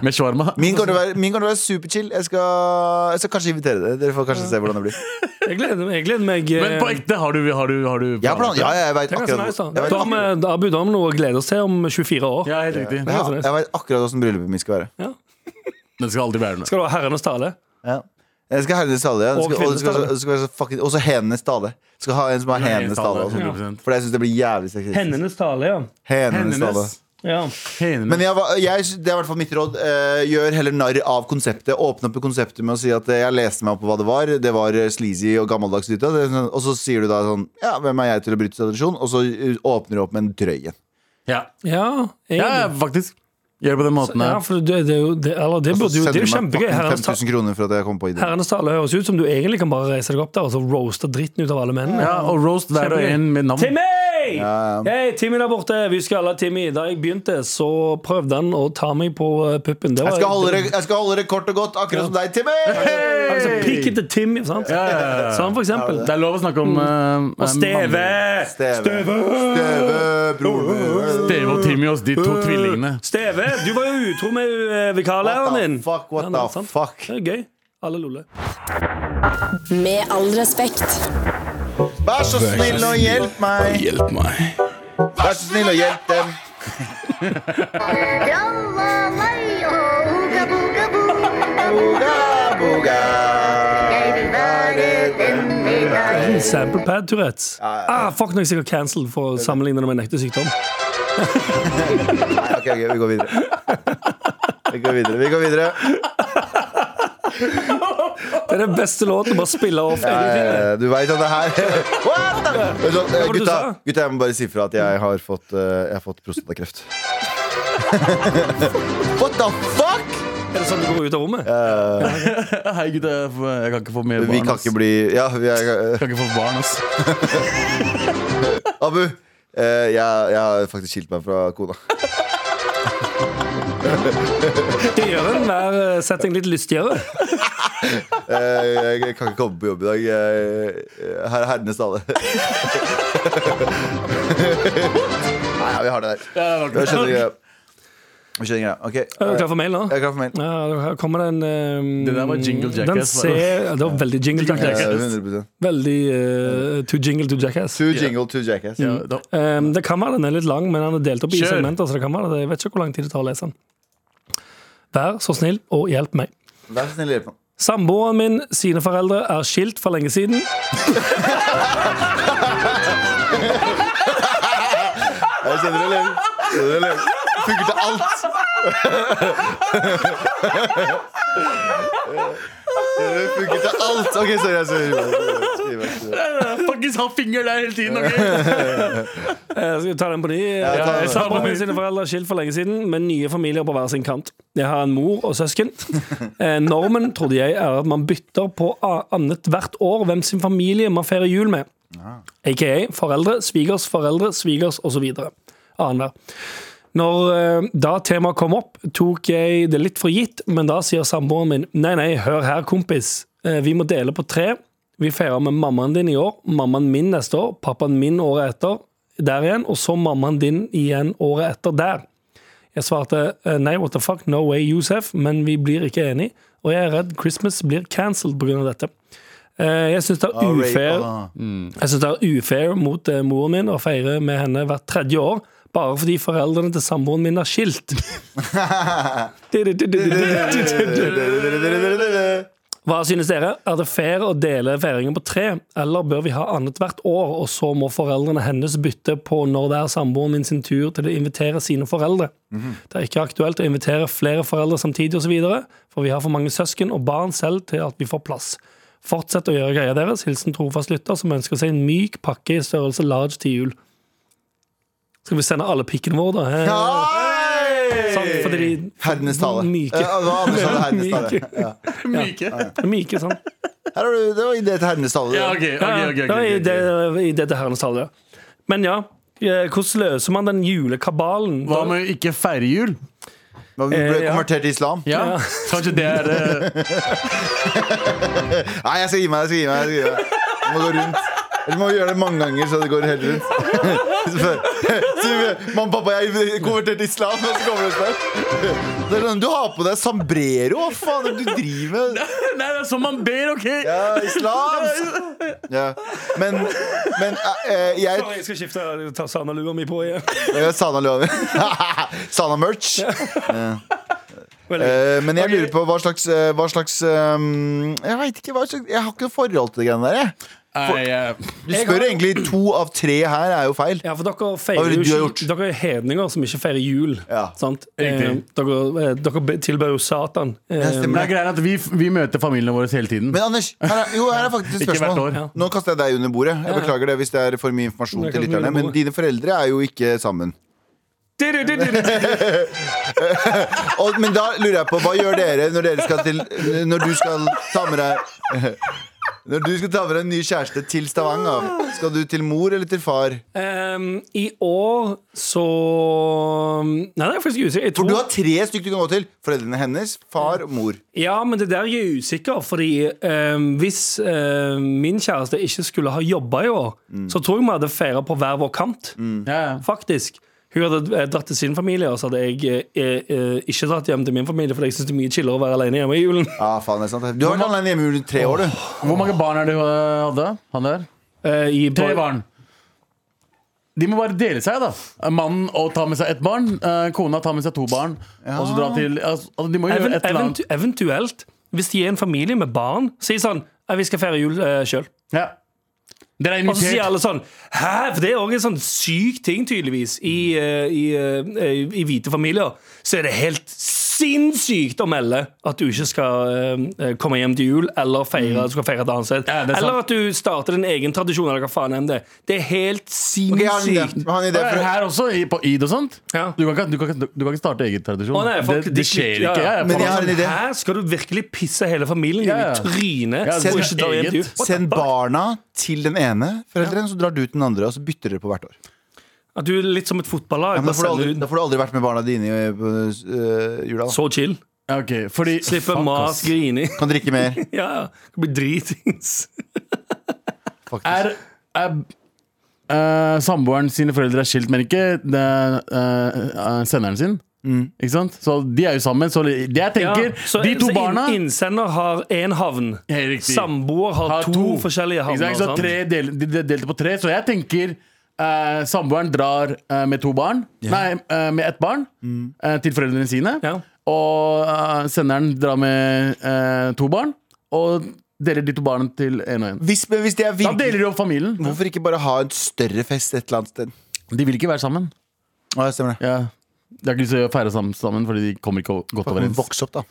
D: med shawarma.
B: Min kommer til å være, min kommer til å være superchill. Jeg skal, jeg skal kanskje invitere dere. Dere får kanskje se hvordan det blir.
C: Jeg gleder meg. Jeg gleder meg eh,
D: Men på ekte, har du, har du, har du
B: Jeg har plan- ja, jeg vet
C: Det er ganske
B: akkurat,
C: nice,
B: jeg
C: da.
B: vet
C: Da har
B: akkurat,
C: vi Abu Damno å glede oss til om 24 år.
D: Ja, helt riktig.
B: ja,
C: ganske nice.
B: jeg vet akkurat hvordan bryllupet mitt skal være.
D: Den skal aldri være noe.
C: Skal du ha herrenes tale?
B: Ja. Jeg skal ha herrenes tale. ja. Det
C: Og
B: skal- Og det skal-
C: kvinnenes tale.
B: det skal være så fucking- og så henenes tale. Skal ha en som har henenes tale. og sånt.
D: 100%.
B: For jeg syns det blir jævlig sexistisk.
C: Hennenes tale, ja.
B: Henenes tale.
D: Hennes.
C: ja.
D: Hennes.
B: Men jeg, var- jeg, sy- det er i hvert fall mitt råd. Eh, gjør heller narr av konseptet. Åpne opp i konseptet med å si at eh, jeg leste meg opp på hva det var. Det var eh, sleazy og gammeldags dytta. Det er sånn- Og så sier du da sånn Ja, hvem er jeg til å bryte tradisjon? Og så eh, åpner du opp med en drøy en.
D: Ja.
C: Ja, jeg,
D: ja, ja, faktisk. Gjør det på den måten
C: ja
D: her.
C: for det, det er jo det, eller, det, burde jo, det er jo
B: Sender du
C: kjempegøy.
B: meg fucking
C: Herrenes, ta
B: 5000 kroner for at jeg kom på ideen.
C: herrenes tale høres ut som du egentlig kan bare reise deg opp der og så roaste dritten ut av alle mennene.
D: Ja, og roast hver og en med navn.
C: Timmy!
B: Ja, ja.
C: Hei, Timmy der borte. Vi skal alle ha Timmy. Da jeg begynte, så prøvde han å ta meg på eh, puppen. Det
B: Jeg
C: var
B: skal holde det, jeg skal holde det kort og godt, akkurat som deg, Timmy!
C: Altså, Pikkete Timmy, sant?
D: Ja, ja, ja.
C: Sånn, for eksempel.
D: Det er lov å snakke om eh,
C: Og Steve!
B: Steve. Steve, broren min.
D: Steve og Timmy oss, de to tvillingene.
C: Steve, du var jo utro med eh,
B: What
C: vikarlæreren din.
B: the fuck,
C: Ja,
B: what
C: nei,
B: the
C: sant.
B: fuck?
C: Det er gøy. Alle loller.
F: Med all respekt.
B: Vær så snill og hjelp
G: Og
B: meg.
G: hjelp meg.
B: Vær så snill og hjelp dem.
H: يلا ميو هوكا بوكا بو
B: Boga, boga.
H: جايبي بالد النداي
C: Sample pad Tourettes. Ah, fuck, nå er jeg sikkert cancelled for å sammenligne det med en ekte sykdom.
B: Nei, ok, ok, vi går videre. Vi går videre. vi går videre
C: Det er den beste låten å bare spille off.
B: Eh, Du veit at det her What the Vet du hva, eh,
C: var det du
B: Gutta,
C: sa?
B: gutta, jeg må bare si fra at jeg har fått, eh, jeg har fått prostatakreft. What the fuck?!
C: Er det sånn du går ut av rommet?
D: Hei, gutta. Jeg får- jeg kan ikke få mer barn.
B: Eh, Vi kan
D: ass.
B: ikke bli Ja, vi er
D: Jeg kan ikke få barn, ass.
B: Abu, eh, jeg, jeg har faktisk skilt meg fra kona.
C: Det gjør enhver eh, setting litt lystigere.
B: Eh, jeg kan ikke komme på jobb i dag. Jeg, her er herrenes tale. Nei, ja, vi har det der. Vi skjønner greia. Vi skjønner greia. Ok,
C: Er du klar for mail nå?
B: jeg er klar for mail.
C: Ja, her kommer det en eh,
D: Det der var Jingle
C: Den
D: Jackass, var det?
C: ser, det var veldig Jingle
B: Eh,
C: Jackass.
B: 100
C: Veldig eh, to jingle to jackass.
B: To jingle, to jackass.
D: Ja, da-
C: Um, det kan være den er litt lang, men han er delt opp i
D: Kjør.
C: segmenter. Så det kan være det. Jeg vet ikke hvor lang tid det tar å lese den. Vær så snill og hjelp meg.
B: Vær så snill, hjelp meg.
C: Samboeren min sine foreldre er skilt for lenge siden.
B: Jeg kjenner det lever. Kjenner det lever. Funker til alt. Det funker til alt. Ok, sorry. jeg skal- Skriv vær så snill.
D: Faktisk ha finger der hele tiden, ok?
C: Eh, skal vi ta den på ny?
B: ta den.
C: Eh, Samboeren min sine foreldre er skilt for lenge siden, med nye familier på hver sin kant. Jeg har en mor og søsken. Eh, normen, trodde jeg, er at man bytter på a- annet hvert år hvem sin
D: Ah.
C: familie man feirer jul med. Aka foreldre, svigers, foreldre, svigers osv. Annenhver. Når eh, da temaet kom opp, tok jeg det litt for gitt, men da sier samboeren min Nei, nei, hør her, kompis. Eh, Vi må dele på tre. Vi feirer med mammaen din i år, mammaen min neste år, pappaen min året etter, der igjen, og så mammaen din igjen året etter der. Jeg svarte eh, nei, what the fuck, no way, Yousef, men vi blir ikke enige, og jeg er redd Christmas blir cancelled pga. dette. Eh, Jeg syns det er
B: Alright,
C: ufair
B: ah.
C: jeg synes det er ufair mot eh, moren min å feire med henne hvert tredje år, bare fordi foreldrene til samboeren min er skilt. Hva synes dere? Er det fair å dele feiringen på tre, eller bør vi ha annethvert år, og så må foreldrene hennes bytte på når det er samboeren min sin tur til å invitere sine foreldre? Det er ikke aktuelt å invitere flere foreldre samtidig osv., for vi har for mange søsken og barn selv til at vi får plass. Fortsett å gjøre greia deres. Hilsen trofast lytter som ønsker seg en myk pakke i størrelse large til jul. Skal vi sende alle pikkene våre, da? Eh, sant? Fordi de
B: Herdenes tale.
C: Sånn Myke.
B: Ja, det var Anders som hadde herdenes tale. Ja.
C: er myke, sånn. sant?
B: Her har du, det var idé til herdenes tale.
D: Ja, ok, ok,
C: Ja,
D: ok, ok,
C: ja, i
D: ok, ok.
C: det- I dette herrens tall, ja. Men ja, eh, hvordan løser man den julekabalen?
D: Hva
C: Da-
D: med ikke feire jul?
B: Men Vi ble
C: Eh, ja.
B: konvertert til islam.
D: Ja, Kanskje det er eh,
B: Nei, jeg skal gi meg. jeg skal gi meg, jeg skal gi meg. Du må gå rundt. Eller du må gjøre det mange ganger, så det går helt rundt. Så vi- Mamma og pappa, jeg er konvertert til islam, og så kommer det snart. Det er sånn, Du har på deg sambrero, hva faen er det du driver med?
D: Nei, det er som man ber, OK?
B: Ja, islam! Ja. Men, men eh, eh, jeg
C: Sorry, jeg skal skifte jeg tar Sana-lua mi på igjen.
B: Ja, Sana lover. Sana merch. Ja.
C: Veldig
B: Eh, men jeg
C: Ok.
B: lurer på hva slags, eh, hva slags ehm, Jeg vet ikke, hva slags, jeg har ikke noe forhold til det greiene der. Jeg.
D: Nei, eh, jeg-
B: Du spør egentlig to av tre her er jo feil.
C: Ja, for dere
B: Hva
C: feirer
B: ville
C: jo
B: du ha
C: ikke Dere er hedninger som ikke feirer jul.
B: Ja.
C: Sant? Eh,
D: Riktig.
C: dere eh, dere be- tilber jo Satan. Eh,
B: Ja, stemmer.
D: Det er greia at vi, vi møter familiene våre hele tiden.
B: Men Anders, her er, jo, her er faktisk et
D: Ikke hvert
B: spørsmål.
D: år. Ja.
B: Nå kaster jeg deg under bordet. Jeg
C: ja.
B: Beklager det hvis det er for mye informasjon
C: Det er
B: til
C: ikke mye
B: lytterne. Men
C: under bordet.
B: dine foreldre er jo ikke sammen.
C: du-du-du-du-du.
B: Og, men da lurer jeg på, hva gjør dere når dere skal til Når du skal ta med deg Når du skal ta med deg en ny kjæreste til Stavanger, skal du til mor eller til far?
C: Ehm, I år så Nei, det er jeg faktisk usikker. Jeg
B: For du
C: tror-
B: har tre stykker du kan gå til. Foreldrene hennes, far og mor.
C: Ja, men det der er jeg usikker, fordi eh, hvis eh, min kjæreste ikke skulle ha jobba i år,
D: Mm.
C: så tror jeg vi hadde feira på hver vår kant,
D: Ja, ja.
C: faktisk. Hun hadde eh, dratt til sin familie, og så hadde jeg eh, eh, ikke dratt hjem til min familie, fordi jeg syns det er mye chillere å være alene hjemme i julen.
B: Ja, faen, det er sant. Du har vært alene hjemme i jul i tre år, du.
D: Hvor mange barn er det hun hadde? Han der?
C: Eh, i
D: Tre barn. De må bare dele seg, da. Mannen og ta med seg ett barn. eh, Kona tar med seg to barn. Og så dra til altså, De må jo gjøre
C: Even,
D: et eller annet.
C: eventu eventuelt, hvis de er en familie med barn, si sånn «Nei, Vi skal feire jul uh, sjøl.
D: Ja. Dere er
C: Og så sier
D: invitert.
C: alle sånn Hæ? For det er òg en sånn syk ting, tydeligvis, i, eh, i, eh, i hvite familier. Så er det helt sinnssykt å melde at du ikke skal eh, komme hjem til jul eller feire, du skal feire et annet sted.
D: Mm. Ja, det er sant.
C: eller at du starter din egen tradisjon, eller hva faen enn det. er. Det er helt
B: Ok, jeg har en idé.
C: sinnssykt.
B: Jeg har en idé
D: Og er
B: for,
D: Her også, i, på id og sånt.
C: Ja.
D: Du, kan ikke, du, kan ikke, du kan ikke starte egen tradisjon.
C: Å, nei, folk-
D: det,
C: de
D: det skjer
C: slutter- ja,
D: ikke.
C: ja.
D: Jeg,
B: Men jeg har en idé.
C: Hæ? Skal du virkelig pisse hele familien
D: Ja, ja.
C: din i trynet?
D: Ja,
C: og
D: det er
C: ikke dra hjem til jul?
D: eget.
C: What the
B: send
C: fuck?
B: barna til den ene forelderen, så drar du til den andre, og så bytter dere på hvert år.
C: At du er litt som et fotballag.
B: Ja, men da, får du
C: bare
B: aldri,
C: sender
B: da
C: ut-
B: får du aldri vært med barna dine i øh, jula. Da.
C: så chill.
D: Ja, ok, fordi,
C: Slippe
D: Fuck,
C: mas,
D: ass.
C: grining.
B: Kan drikke mer.
C: Ja, ja. Det blir dritings.
D: Er, er eh, samboeren sine foreldre er skilt, men ikke det, eh, eh, senderen sin? Ikke sant? Så de er jo sammen. Så det jeg tenker,
C: Mm. Ja, så-
D: de to
C: så
D: barna
C: inn, Innsender har én havn.
D: Helt riktig.
C: Samboer har,
D: har
C: to, forskjellige
D: Ikke
C: havner. sånn.
D: sant? Så
C: sant?
D: tre del, de, de delte på tre, så jeg tenker eh, samboeren drar eh, med to barn Nei, eh, med ett barn eh, til foreldrene sine.
C: Mm. Ja.
D: Og eh, senderen drar med eh, to barn, og deler de to barna til én og én.
B: Hvis, men hvis det er
D: Da
B: virkelig
D: deler de opp familien.
B: Hvorfor ikke bare ha en større fest et eller annet sted?
D: De vil ikke være sammen.
B: Å, ja, stemmer det.
D: Ja. De har ikke lyst til å feire sammen, sammen fordi de kommer ikke godt
B: Men
D: overens.
B: Voks opp, da.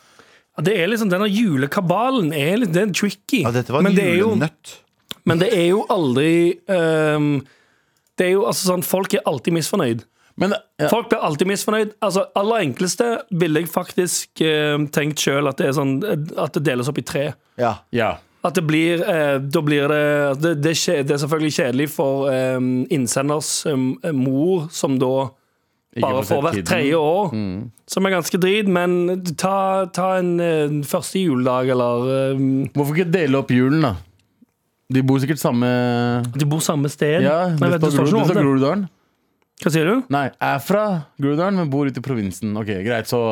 C: Ja, Det er liksom, Denne julekabalen er litt den er tricky.
B: Ja, dette var en
C: men, det er jo,
B: julenøtt.
C: men det er jo aldri ehm, Det er jo altså sånn, Folk er alltid misfornøyd.
D: Men ja,
C: Folk blir alltid misfornøyd. Altså, Aller enkleste ville jeg faktisk ehm, tenkt sjøl at det er sånn eh, At det deles opp i tre.
B: Ja.
D: ja.
C: At det blir, eh, da blir det, det, det, skje- det er selvfølgelig kjedelig for eh, innsenders eh, mor, som da bare for
D: fått sett
C: hvert
D: kidden. Mm.
C: tredje år, som er ganske drit. Men ta, ta en, eh, første juledag, eller eh,
D: Hvorfor ikke dele opp julen, da? De bor sikkert samme
C: De bor samme sted.
D: Ja,
C: Nei, vet, du,
D: det
C: det står ikke
D: står
C: noe om det.
D: Groruddalen.
C: Hva sier du?
D: Nei, er fra Groruddalen, men bor ute i provinsen. Ok, Greit, så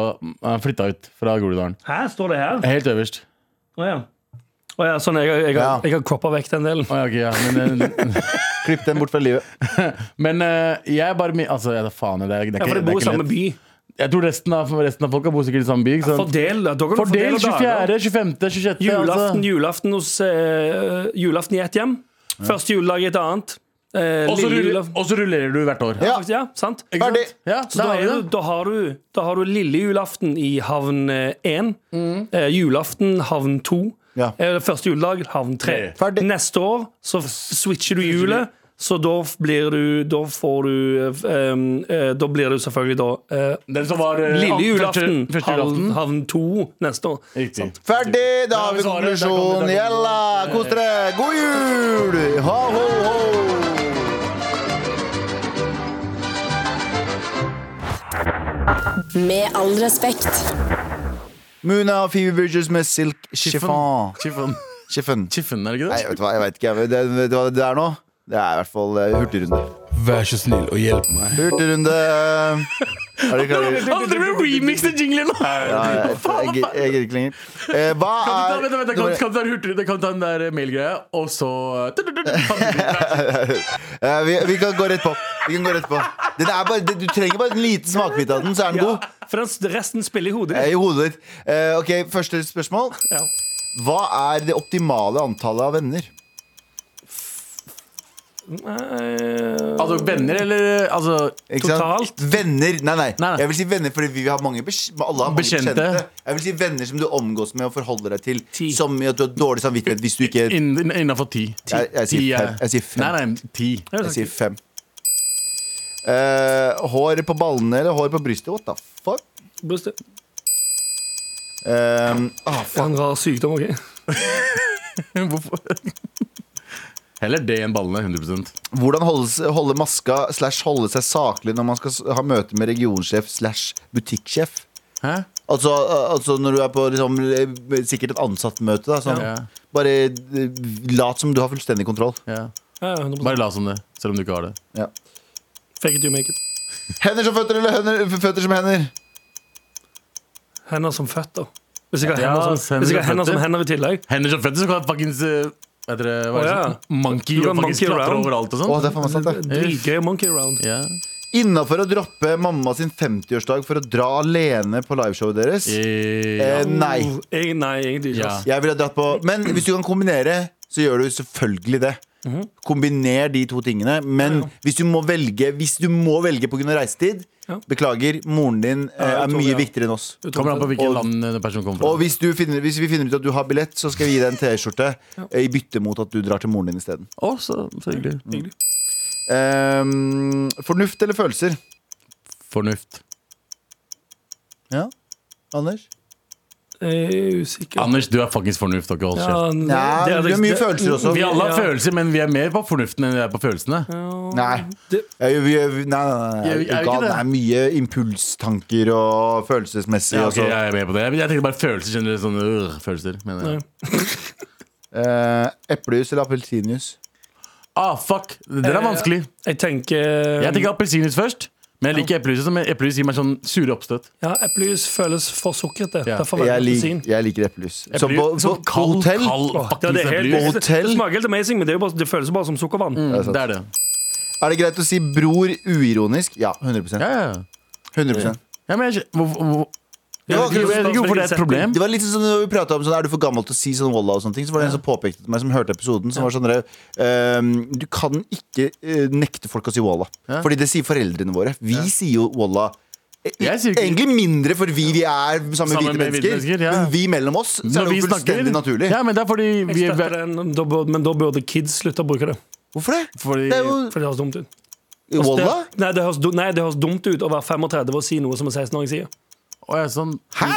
D: han flytta ut fra Groruddalen.
E: Hæ, står det her?
D: Helt øverst.
E: Å ja.
C: Å ja, sånn, jeg, jeg, jeg,
B: Ja.
C: jeg har croppa vekk den delen.
D: Å, ja, ok, ja. Men, eh,
B: Klipp den bort fra livet.
D: men eh, jeg bare mi- Altså, jeg, faen, det er, det
C: Ja,
D: er ikke,
C: for de
D: det
C: bor
D: er
C: i
D: ikke
C: samme
D: lett.
C: by.
D: Jeg tror resten av, resten av folka bor sikkert i samme by. ikke sant?
C: Fordel, da. Dere kan fordele
D: Fordel
C: dager.
D: 24., 25., 26.
C: Julaften,
D: altså.
C: julaften hos eh, Julaften i ett hjem. Første juledag i et annet. Eh,
D: Og så
C: lille
D: ruller,
C: julaften
D: og så rullerer du hvert år.
B: Ja.
C: Ja, sant?
B: Ferdig.
D: Ja,
C: Så da,
D: har vi
C: er du,
D: det.
C: da, har du, da har du lille julaften i havn 1. Eh, julaften havn 2.
B: Ja.
C: Eh, første juledag havn 3.
D: Tre.
B: Ferdig.
C: Neste år så f- switcher du hjulet. Så da f- blir du Da får du eh, em, eh, Da blir du selvfølgelig da eh,
D: Den som var eh,
C: Lille
D: første-
C: julaften,
D: Første
C: havn,
D: julaften.
C: havn 2 neste år.
D: Riktig.
B: Ferdig! Da
D: Ja,
B: har vi
D: vi svarer. Der kom det, der kom
B: konklusjonen.
D: det.
B: Gjella! Kos dere! God jul! Ha, ho, ho!
F: Med all respekt.
B: Muna og Phoebe Bridges med Silk Chiffon.
D: Chiffon.
B: Chiffon.
D: Chiffon, er det
B: Nei,
D: ikke det?
B: vet du hva, jeg vet ikke. jeg. Det, vet du hva det er nå? Det er i hvert fall eh, hurtigrunde.
G: Vær så snill og hjelp meg.
B: Hurtigrunde. Er dere klare?
D: Han driver og remixer jinglen nå!
B: Ja, jeg, jeg, jeg, jeg gidder ikke lenger. Eh, hva
D: Kan
B: er
D: du ta, vent, vent, kan, kan du ta en hurtigere, kan du ta den der mailgreia, og så
B: Eh, vi, vi kan gå rett på. Vi kan gå rett på. Den er bare, du trenger bare en liten smakebit av den, så er den
C: Ja,
B: god.
C: for den s- resten spiller i hodet
B: Eh,
C: ditt.
B: I hodet ditt. Eh, ok, Første spørsmål.
C: Ja.
B: Hva er det optimale antallet av venner?
C: Eh,
D: Altså venner, eller altså
B: Ikke sant?
C: Totalt?
B: Venner nei, nei,
D: Nei, nei.
B: Jeg vil si venner fordi vi har mange, bes- alle har mange bekjente.
D: Bekjente.
B: Jeg vil si venner som du omgås med og forholder deg til.
C: Ti.
B: Som i at du har dårlig samvittighet hvis du ikke Jeg,
D: inn- Innenfor ti.
B: jeg,
D: Ti
B: sier,
D: er-
B: fem. jeg sier fem.
D: Nei, nei, ti.
B: Jeg sier fem. Eh, hår på ballene eller hår på brystet? What the fuck?
C: brystet.
B: Eh, ah,
C: Det er en rar sykdom, OK?
D: Hvorfor? Heller det enn ballene, 100
B: hvordan holde, holde maska slash holde seg saklig når man skal s- ha møte med regionsjef slash butikksjef?
D: Hæ?
B: Altså, altså når du er på liksom, sikkert et ansattmøte. Da, sånn.
D: Ja.
B: Bare eh, lat som du har fullstendig kontroll.
D: Ja.
C: Ja, 100
D: Bare la som det, selv om du ikke har det.
B: Ja.
C: Fake it, you make it.
B: Hender som føtter eller hender, føtter som hender?
C: Hender som føtter. Hvis jeg har
D: Ja,
C: hender, som,
D: hender
C: hvis jeg har
D: som
C: hender som
D: føtter.
C: hender i tillegg.
D: Hender som fett, så kan jeg fuckings eh, Vet dere hva
C: Å,
D: er det
C: ja.
D: sånn? Monkey
C: Du kan
D: og fuckings
C: monkey
D: klatre
C: around.
D: overalt
B: Å,
D: og sånn.
B: det er faen meg sant, det.
C: Dritgøy monkey around.
D: Ja.
B: Innafor å droppe mamma sin 50-årsdag for å dra alene på liveshowet deres?
D: Eh,
B: Eh, nei.
C: Oh, jeg, nei, egentlig ikke.
D: Ja.
C: ass.
B: Jeg ville dratt på Men hvis du kan kombinere, så gjør du selvfølgelig det. Kombiner de to tingene. Men hvis du må velge Hvis du må velge pga. reisetid,
C: Ja.
B: beklager, moren din eh,
C: jeg
B: er
C: tror
B: mye
C: det, ja.
B: viktigere enn oss.
D: Kommer an på hvilket
B: Og-
D: land den personen kommer fra.
B: Og hvis, du finner, hvis vi finner ut at du har billett, så skal vi gi deg en T-skjorte eh, i bytte mot at du drar til moren din isteden.
D: Å, så, så hyggelig.
B: Um, fornuft eller følelser?
D: Fornuft.
B: Ja, Anders?
C: Jeg er usikker.
D: Anders, du er fuckings fornuft. og ikke hold kjeft.
C: nei,
B: Nei,
C: det
B: det
C: er
B: er
C: liksom-
B: mye følelser også.
D: Vi alle har
C: Ja.
D: følelser, men vi er mer på fornuften enn vi er på følelsene.
B: Nei.
C: Det-
B: Ja, vi- vi- nei, nei, nei,
D: Er
B: nei.
D: vi- er vi ikke
B: Gal,
D: det?
B: det er mye impulstanker og følelsesmessig.
D: Ja, ok,
B: også.
D: jeg er med på det. Jeg, jeg tenkte bare følelser generelt. Sånn, øh, følelser, mener jeg.
B: Eh, Eplejus eller appelsinjuice?
D: Ah, fuck! Den er
C: Eh,
D: vanskelig.
C: Jeg tenker
D: Jeg tenker appelsinjuice først. Men jeg liker eplejus. men Eplejus gir meg sånn sure oppstøt.
C: Ja, eplejus føles for sukrete.
D: Ja.
C: Derfor velger
B: Jeg,
C: jeg
B: lik,
C: appelsin.
B: jeg liker eplejus. Så
D: Eplejus-
B: på, på,
D: sånn
B: på hotell
D: Kald,
C: Åh,
D: kald,
C: ja, det, er
D: fuckings
C: helt-
B: På
D: eplejus.
B: hotell?
C: det smaker helt amazing, men det, er jo bare, det føles jo bare som sukkervann.
D: Mm, det er det.
B: er det greit å si bror uironisk? Ja, 100,
D: Ja, ja, ja.
B: 100%.
D: ja men jeg, skj- hvor, hvor,
B: Det var
D: jeg,
B: akkurat
D: vet ikke hvorfor det er et problem.
B: Det var litt sånn når vi pratet om sånn, Er du for gammel til å si sånn walla og sånne ting Så var det en som påpekte til meg som hørte episoden Som var sånn der, ehm, Du kan ikke eh, nekte folk å si walla Fordi det sier foreldrene våre Vi sier jo walla Eh,
D: Jeg sier ikke-
B: Egentlig mindre for vi vi er samme,
D: Sammen
B: hvite
D: med
B: mennesker,
D: hvite mennesker, ja.
B: Men vi mellom oss Så
D: Når
B: er det
D: vi
B: jo
D: snakker-
B: fullstendig naturlig
D: Ja, men det er
C: Jeg
D: fordi vi
C: støtter den, da burde, men da burde kids slutte å bruke det.
B: Hvorfor det?
D: Fordi-
B: det er jo
C: For det høres dumt ut. Altså,
B: walla
C: Det, nei, det høres, du- nei, det høres dumt ut å være 35 og si noe som en 16-åring sier.
D: Å, ja, sånn.
B: Hæ?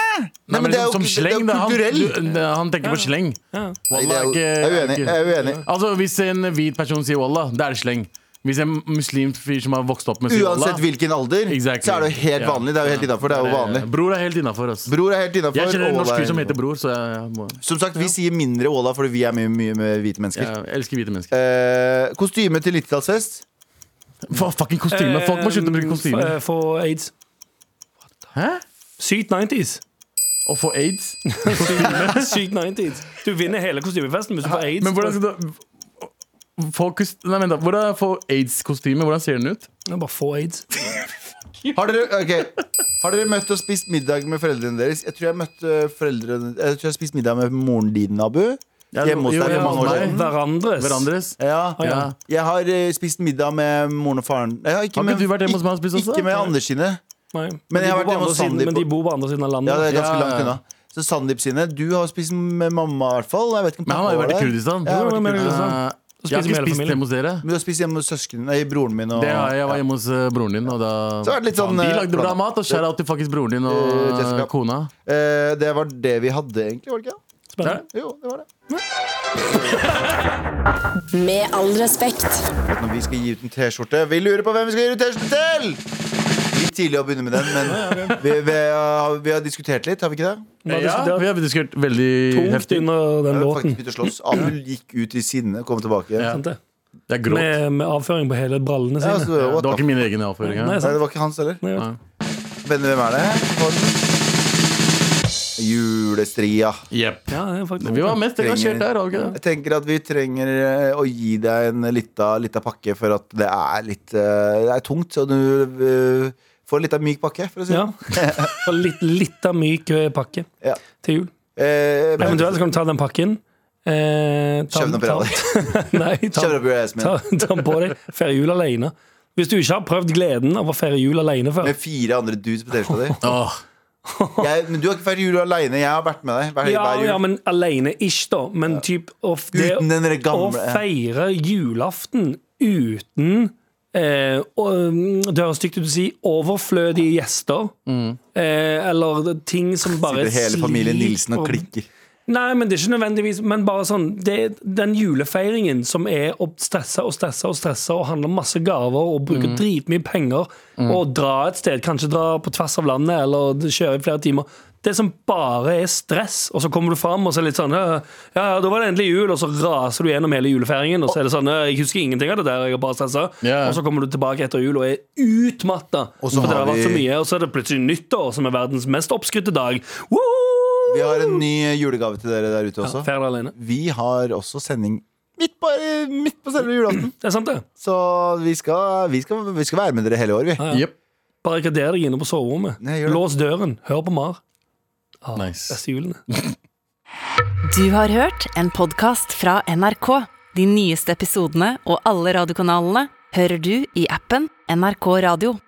D: Nei, men det er jo
B: ikke-
D: som sleng,
B: det
D: da.
B: er
D: Han,
B: kulturell
D: du- det- han tenker på sleng.
C: Ja.
B: Nei,
D: Wallah
B: det er jo-
D: ikke-
B: Jeg er uenig,
D: ikke-
B: jeg er uenig
D: Altså, Hvis en hvit person sier wallah, da er det sleng. Hvis en muslimsk fyr som har vokst opp med sin
B: Uansett hvilken alder,
D: Exactly.
B: så er det jo helt
D: Ja.
B: vanlig. Det er jo helt innafor. Det er jo vanlig.
D: Bror er helt innafor. Altså.
B: Bror er helt
D: Jeg
B: innafor.
D: kjenner en norsk fyr som heter Bror, så jeg, må,
B: Som sagt, vi sier mindre Åla fordi vi er mye, mye med hvite mennesker.
D: jeg elsker hvite mennesker.
B: Eh, kostyme til 90-tallsfest.
D: Fa, fucking kostyme! Folk må slutte å bruke kostymer.
C: Eh, For aids.
D: Hæ?
C: Sykt 90s.
D: Å få aids?
C: Sykt 90s. Du vinner hele kostymefesten hvis du får aids.
D: Men hvordan skal du få kost- Nei, vent da. Hvordan få aids-kostyme? Hvordan ser den ut?
C: Ja, Bare få aids.
B: Har dere, ok. har dere møtt og spist middag med foreldrene deres? Jeg tror jeg møtte foreldrene Jeg tror jeg spiste middag med moren din, Abu. Hjemme hos
D: jo,
B: deg
D: ja,
B: for mange år
D: nei.
B: siden.
C: Hverandres.
D: Hverandres?
B: Ja.
D: Ja.
B: Jeg har eh, spist middag med moren og faren. Jeg har ikke,
D: Har ikke
B: med,
D: du vært hjemme hos meg og spist også?
B: ikke med Anders sine.
C: Nei.
B: Men jeg har vært
C: de bor på
B: hjemme
C: andre
B: hos
C: siden-
B: Sandeep
C: Men de bor på andre siden av landet.
B: Ja, det er ganske
D: Ja.
B: langt unna. Så Sandeep sine. Du har spist med mamma, i hvert fall. Jeg vet ikke om
D: Men han har jo
B: pappa
D: vært i
B: var der.
D: Kurdistan.
B: Ja, jeg har vært i
C: men-
B: Kurdistan.
D: Eh, jeg har
C: spiser vi hele
D: ikke spist
C: familien.
D: hjemme hos dere.
B: Men du har spist hjemme hos søskenen Nei, broren min og
D: Det har jeg. Jeg var hjemme hos eh, broren din, og da
B: Så er det litt sånn,
D: Faen, De
B: eh,
D: lagde bra
B: blandet.
D: mat, og shout out til faktisk broren din og
B: Eh,
D: eh,
B: Jessica.
D: kona.
B: Eh, Det var det vi hadde, egentlig, var det ikke? det?
C: Spennende.
B: Jo, det var det.
F: Med all respekt.
B: Når vi skal gi ut en T-skjorte Vi lurer på hvem vi skal gi ut T-skjorte til! Litt tidlig å begynne med den, men vi, vi, har- vi har diskutert litt, har vi ikke det?
C: har
D: Ja,
C: diskutert-
D: vi har diskutert veldig
C: Tungt
D: heftig.
C: under den
B: Vi har
C: låten.
B: faktisk begynt å slåss. Abu gikk ut i sinne, kom tilbake.
D: Ja.
C: sant det?
D: Det er gråt.
C: Med, med avføring på hele brallene
B: Ja,
C: sine.
B: altså, what
D: det var
B: the f-
D: ikke min egen avføring.
C: Nei,
D: Ja.
B: Nei,
C: sant?
B: det var ikke hans heller.
C: Nei,
D: Nei.
B: Venner, hvem er det? Hva er det? Julestria.
D: Jepp.
C: Ja, det er faktisk
D: Vi var mest engasjert der. var vi ikke det?
B: Jeg tenker at vi trenger eh, å gi deg en lita, lita pakke, for at det er litt eh, Det er tungt, så du eh, får litt av myk pakke, for å si det
C: Ja. Og litt, litt av myk eh, pakke
B: Ja.
C: til jul.
B: Eh, men-
C: Eventuelt kan du ta den pakken. Eh, ta
B: Kjøp den
C: den-
B: på
C: ta- Nei, ta,
B: Kjøp den på Jasmin.
C: sånn- ta, ta den på deg. Feire jul alene. Hvis du ikke har prøvd gleden av å feire jul alene før.
B: Med fire andre dudes på T-skjorta di.
D: Åh,
B: Jeg- Men du har ikke feiret jul aleine. Jeg har vært med deg hver,
C: Ja,
B: hver jul.
C: ja, men alene-ish, da. Men typ å f- det,
B: Uten den der
C: å
B: gamle
C: feire julaften uten eh, og, Det høres stygt ut å si overflødige gjester. Eh, eller ting som bare
B: Mm. Sitter hele familien
C: sliter
B: Nilsen og klikker.
C: Nei, men det er ikke nødvendigvis Men bare sånn, det, den julefeiringen som er å stresse og stresse og stresse og handle om masse gaver og
B: Mm.
C: bruke dritmye penger og dra et sted, kanskje dra på tvers av landet eller kjøre i flere timer Det som bare er stress, og så kommer du fram og så er det litt sånn «Øh, Ja, ja, da var det endelig jul, og så raser du gjennom hele julefeiringen, og så er det sånn «Øh, Jeg husker ingenting av det der, jeg er bare stressa.
D: Ja.
C: Og så kommer du tilbake etter jul og er utmatta.
B: Og
C: Og
B: så
C: så,
B: har vi-
C: er det plutselig nyttår, som er verdens mest oppskrytte dag. Woo!
B: Vi har en ny eh, julegave til dere der ute også.
C: Feir det alene.
B: Vi har også sending midt på, eh, midt på selve julaften.
C: Det er sant, det.
B: Så vi skal, vi, skal, vi skal være med dere hele året, vi.
D: Jepp.
C: Barrikader deg inne på soverommet.
B: Nei, gjør det.
C: Lås døren. Hør på Mar. Ah,
D: Nice.
C: Beste julene.
A: Du har hørt en podkast fra NRK. De nyeste episodene og alle radiokanalene hører du i appen NRK Radio.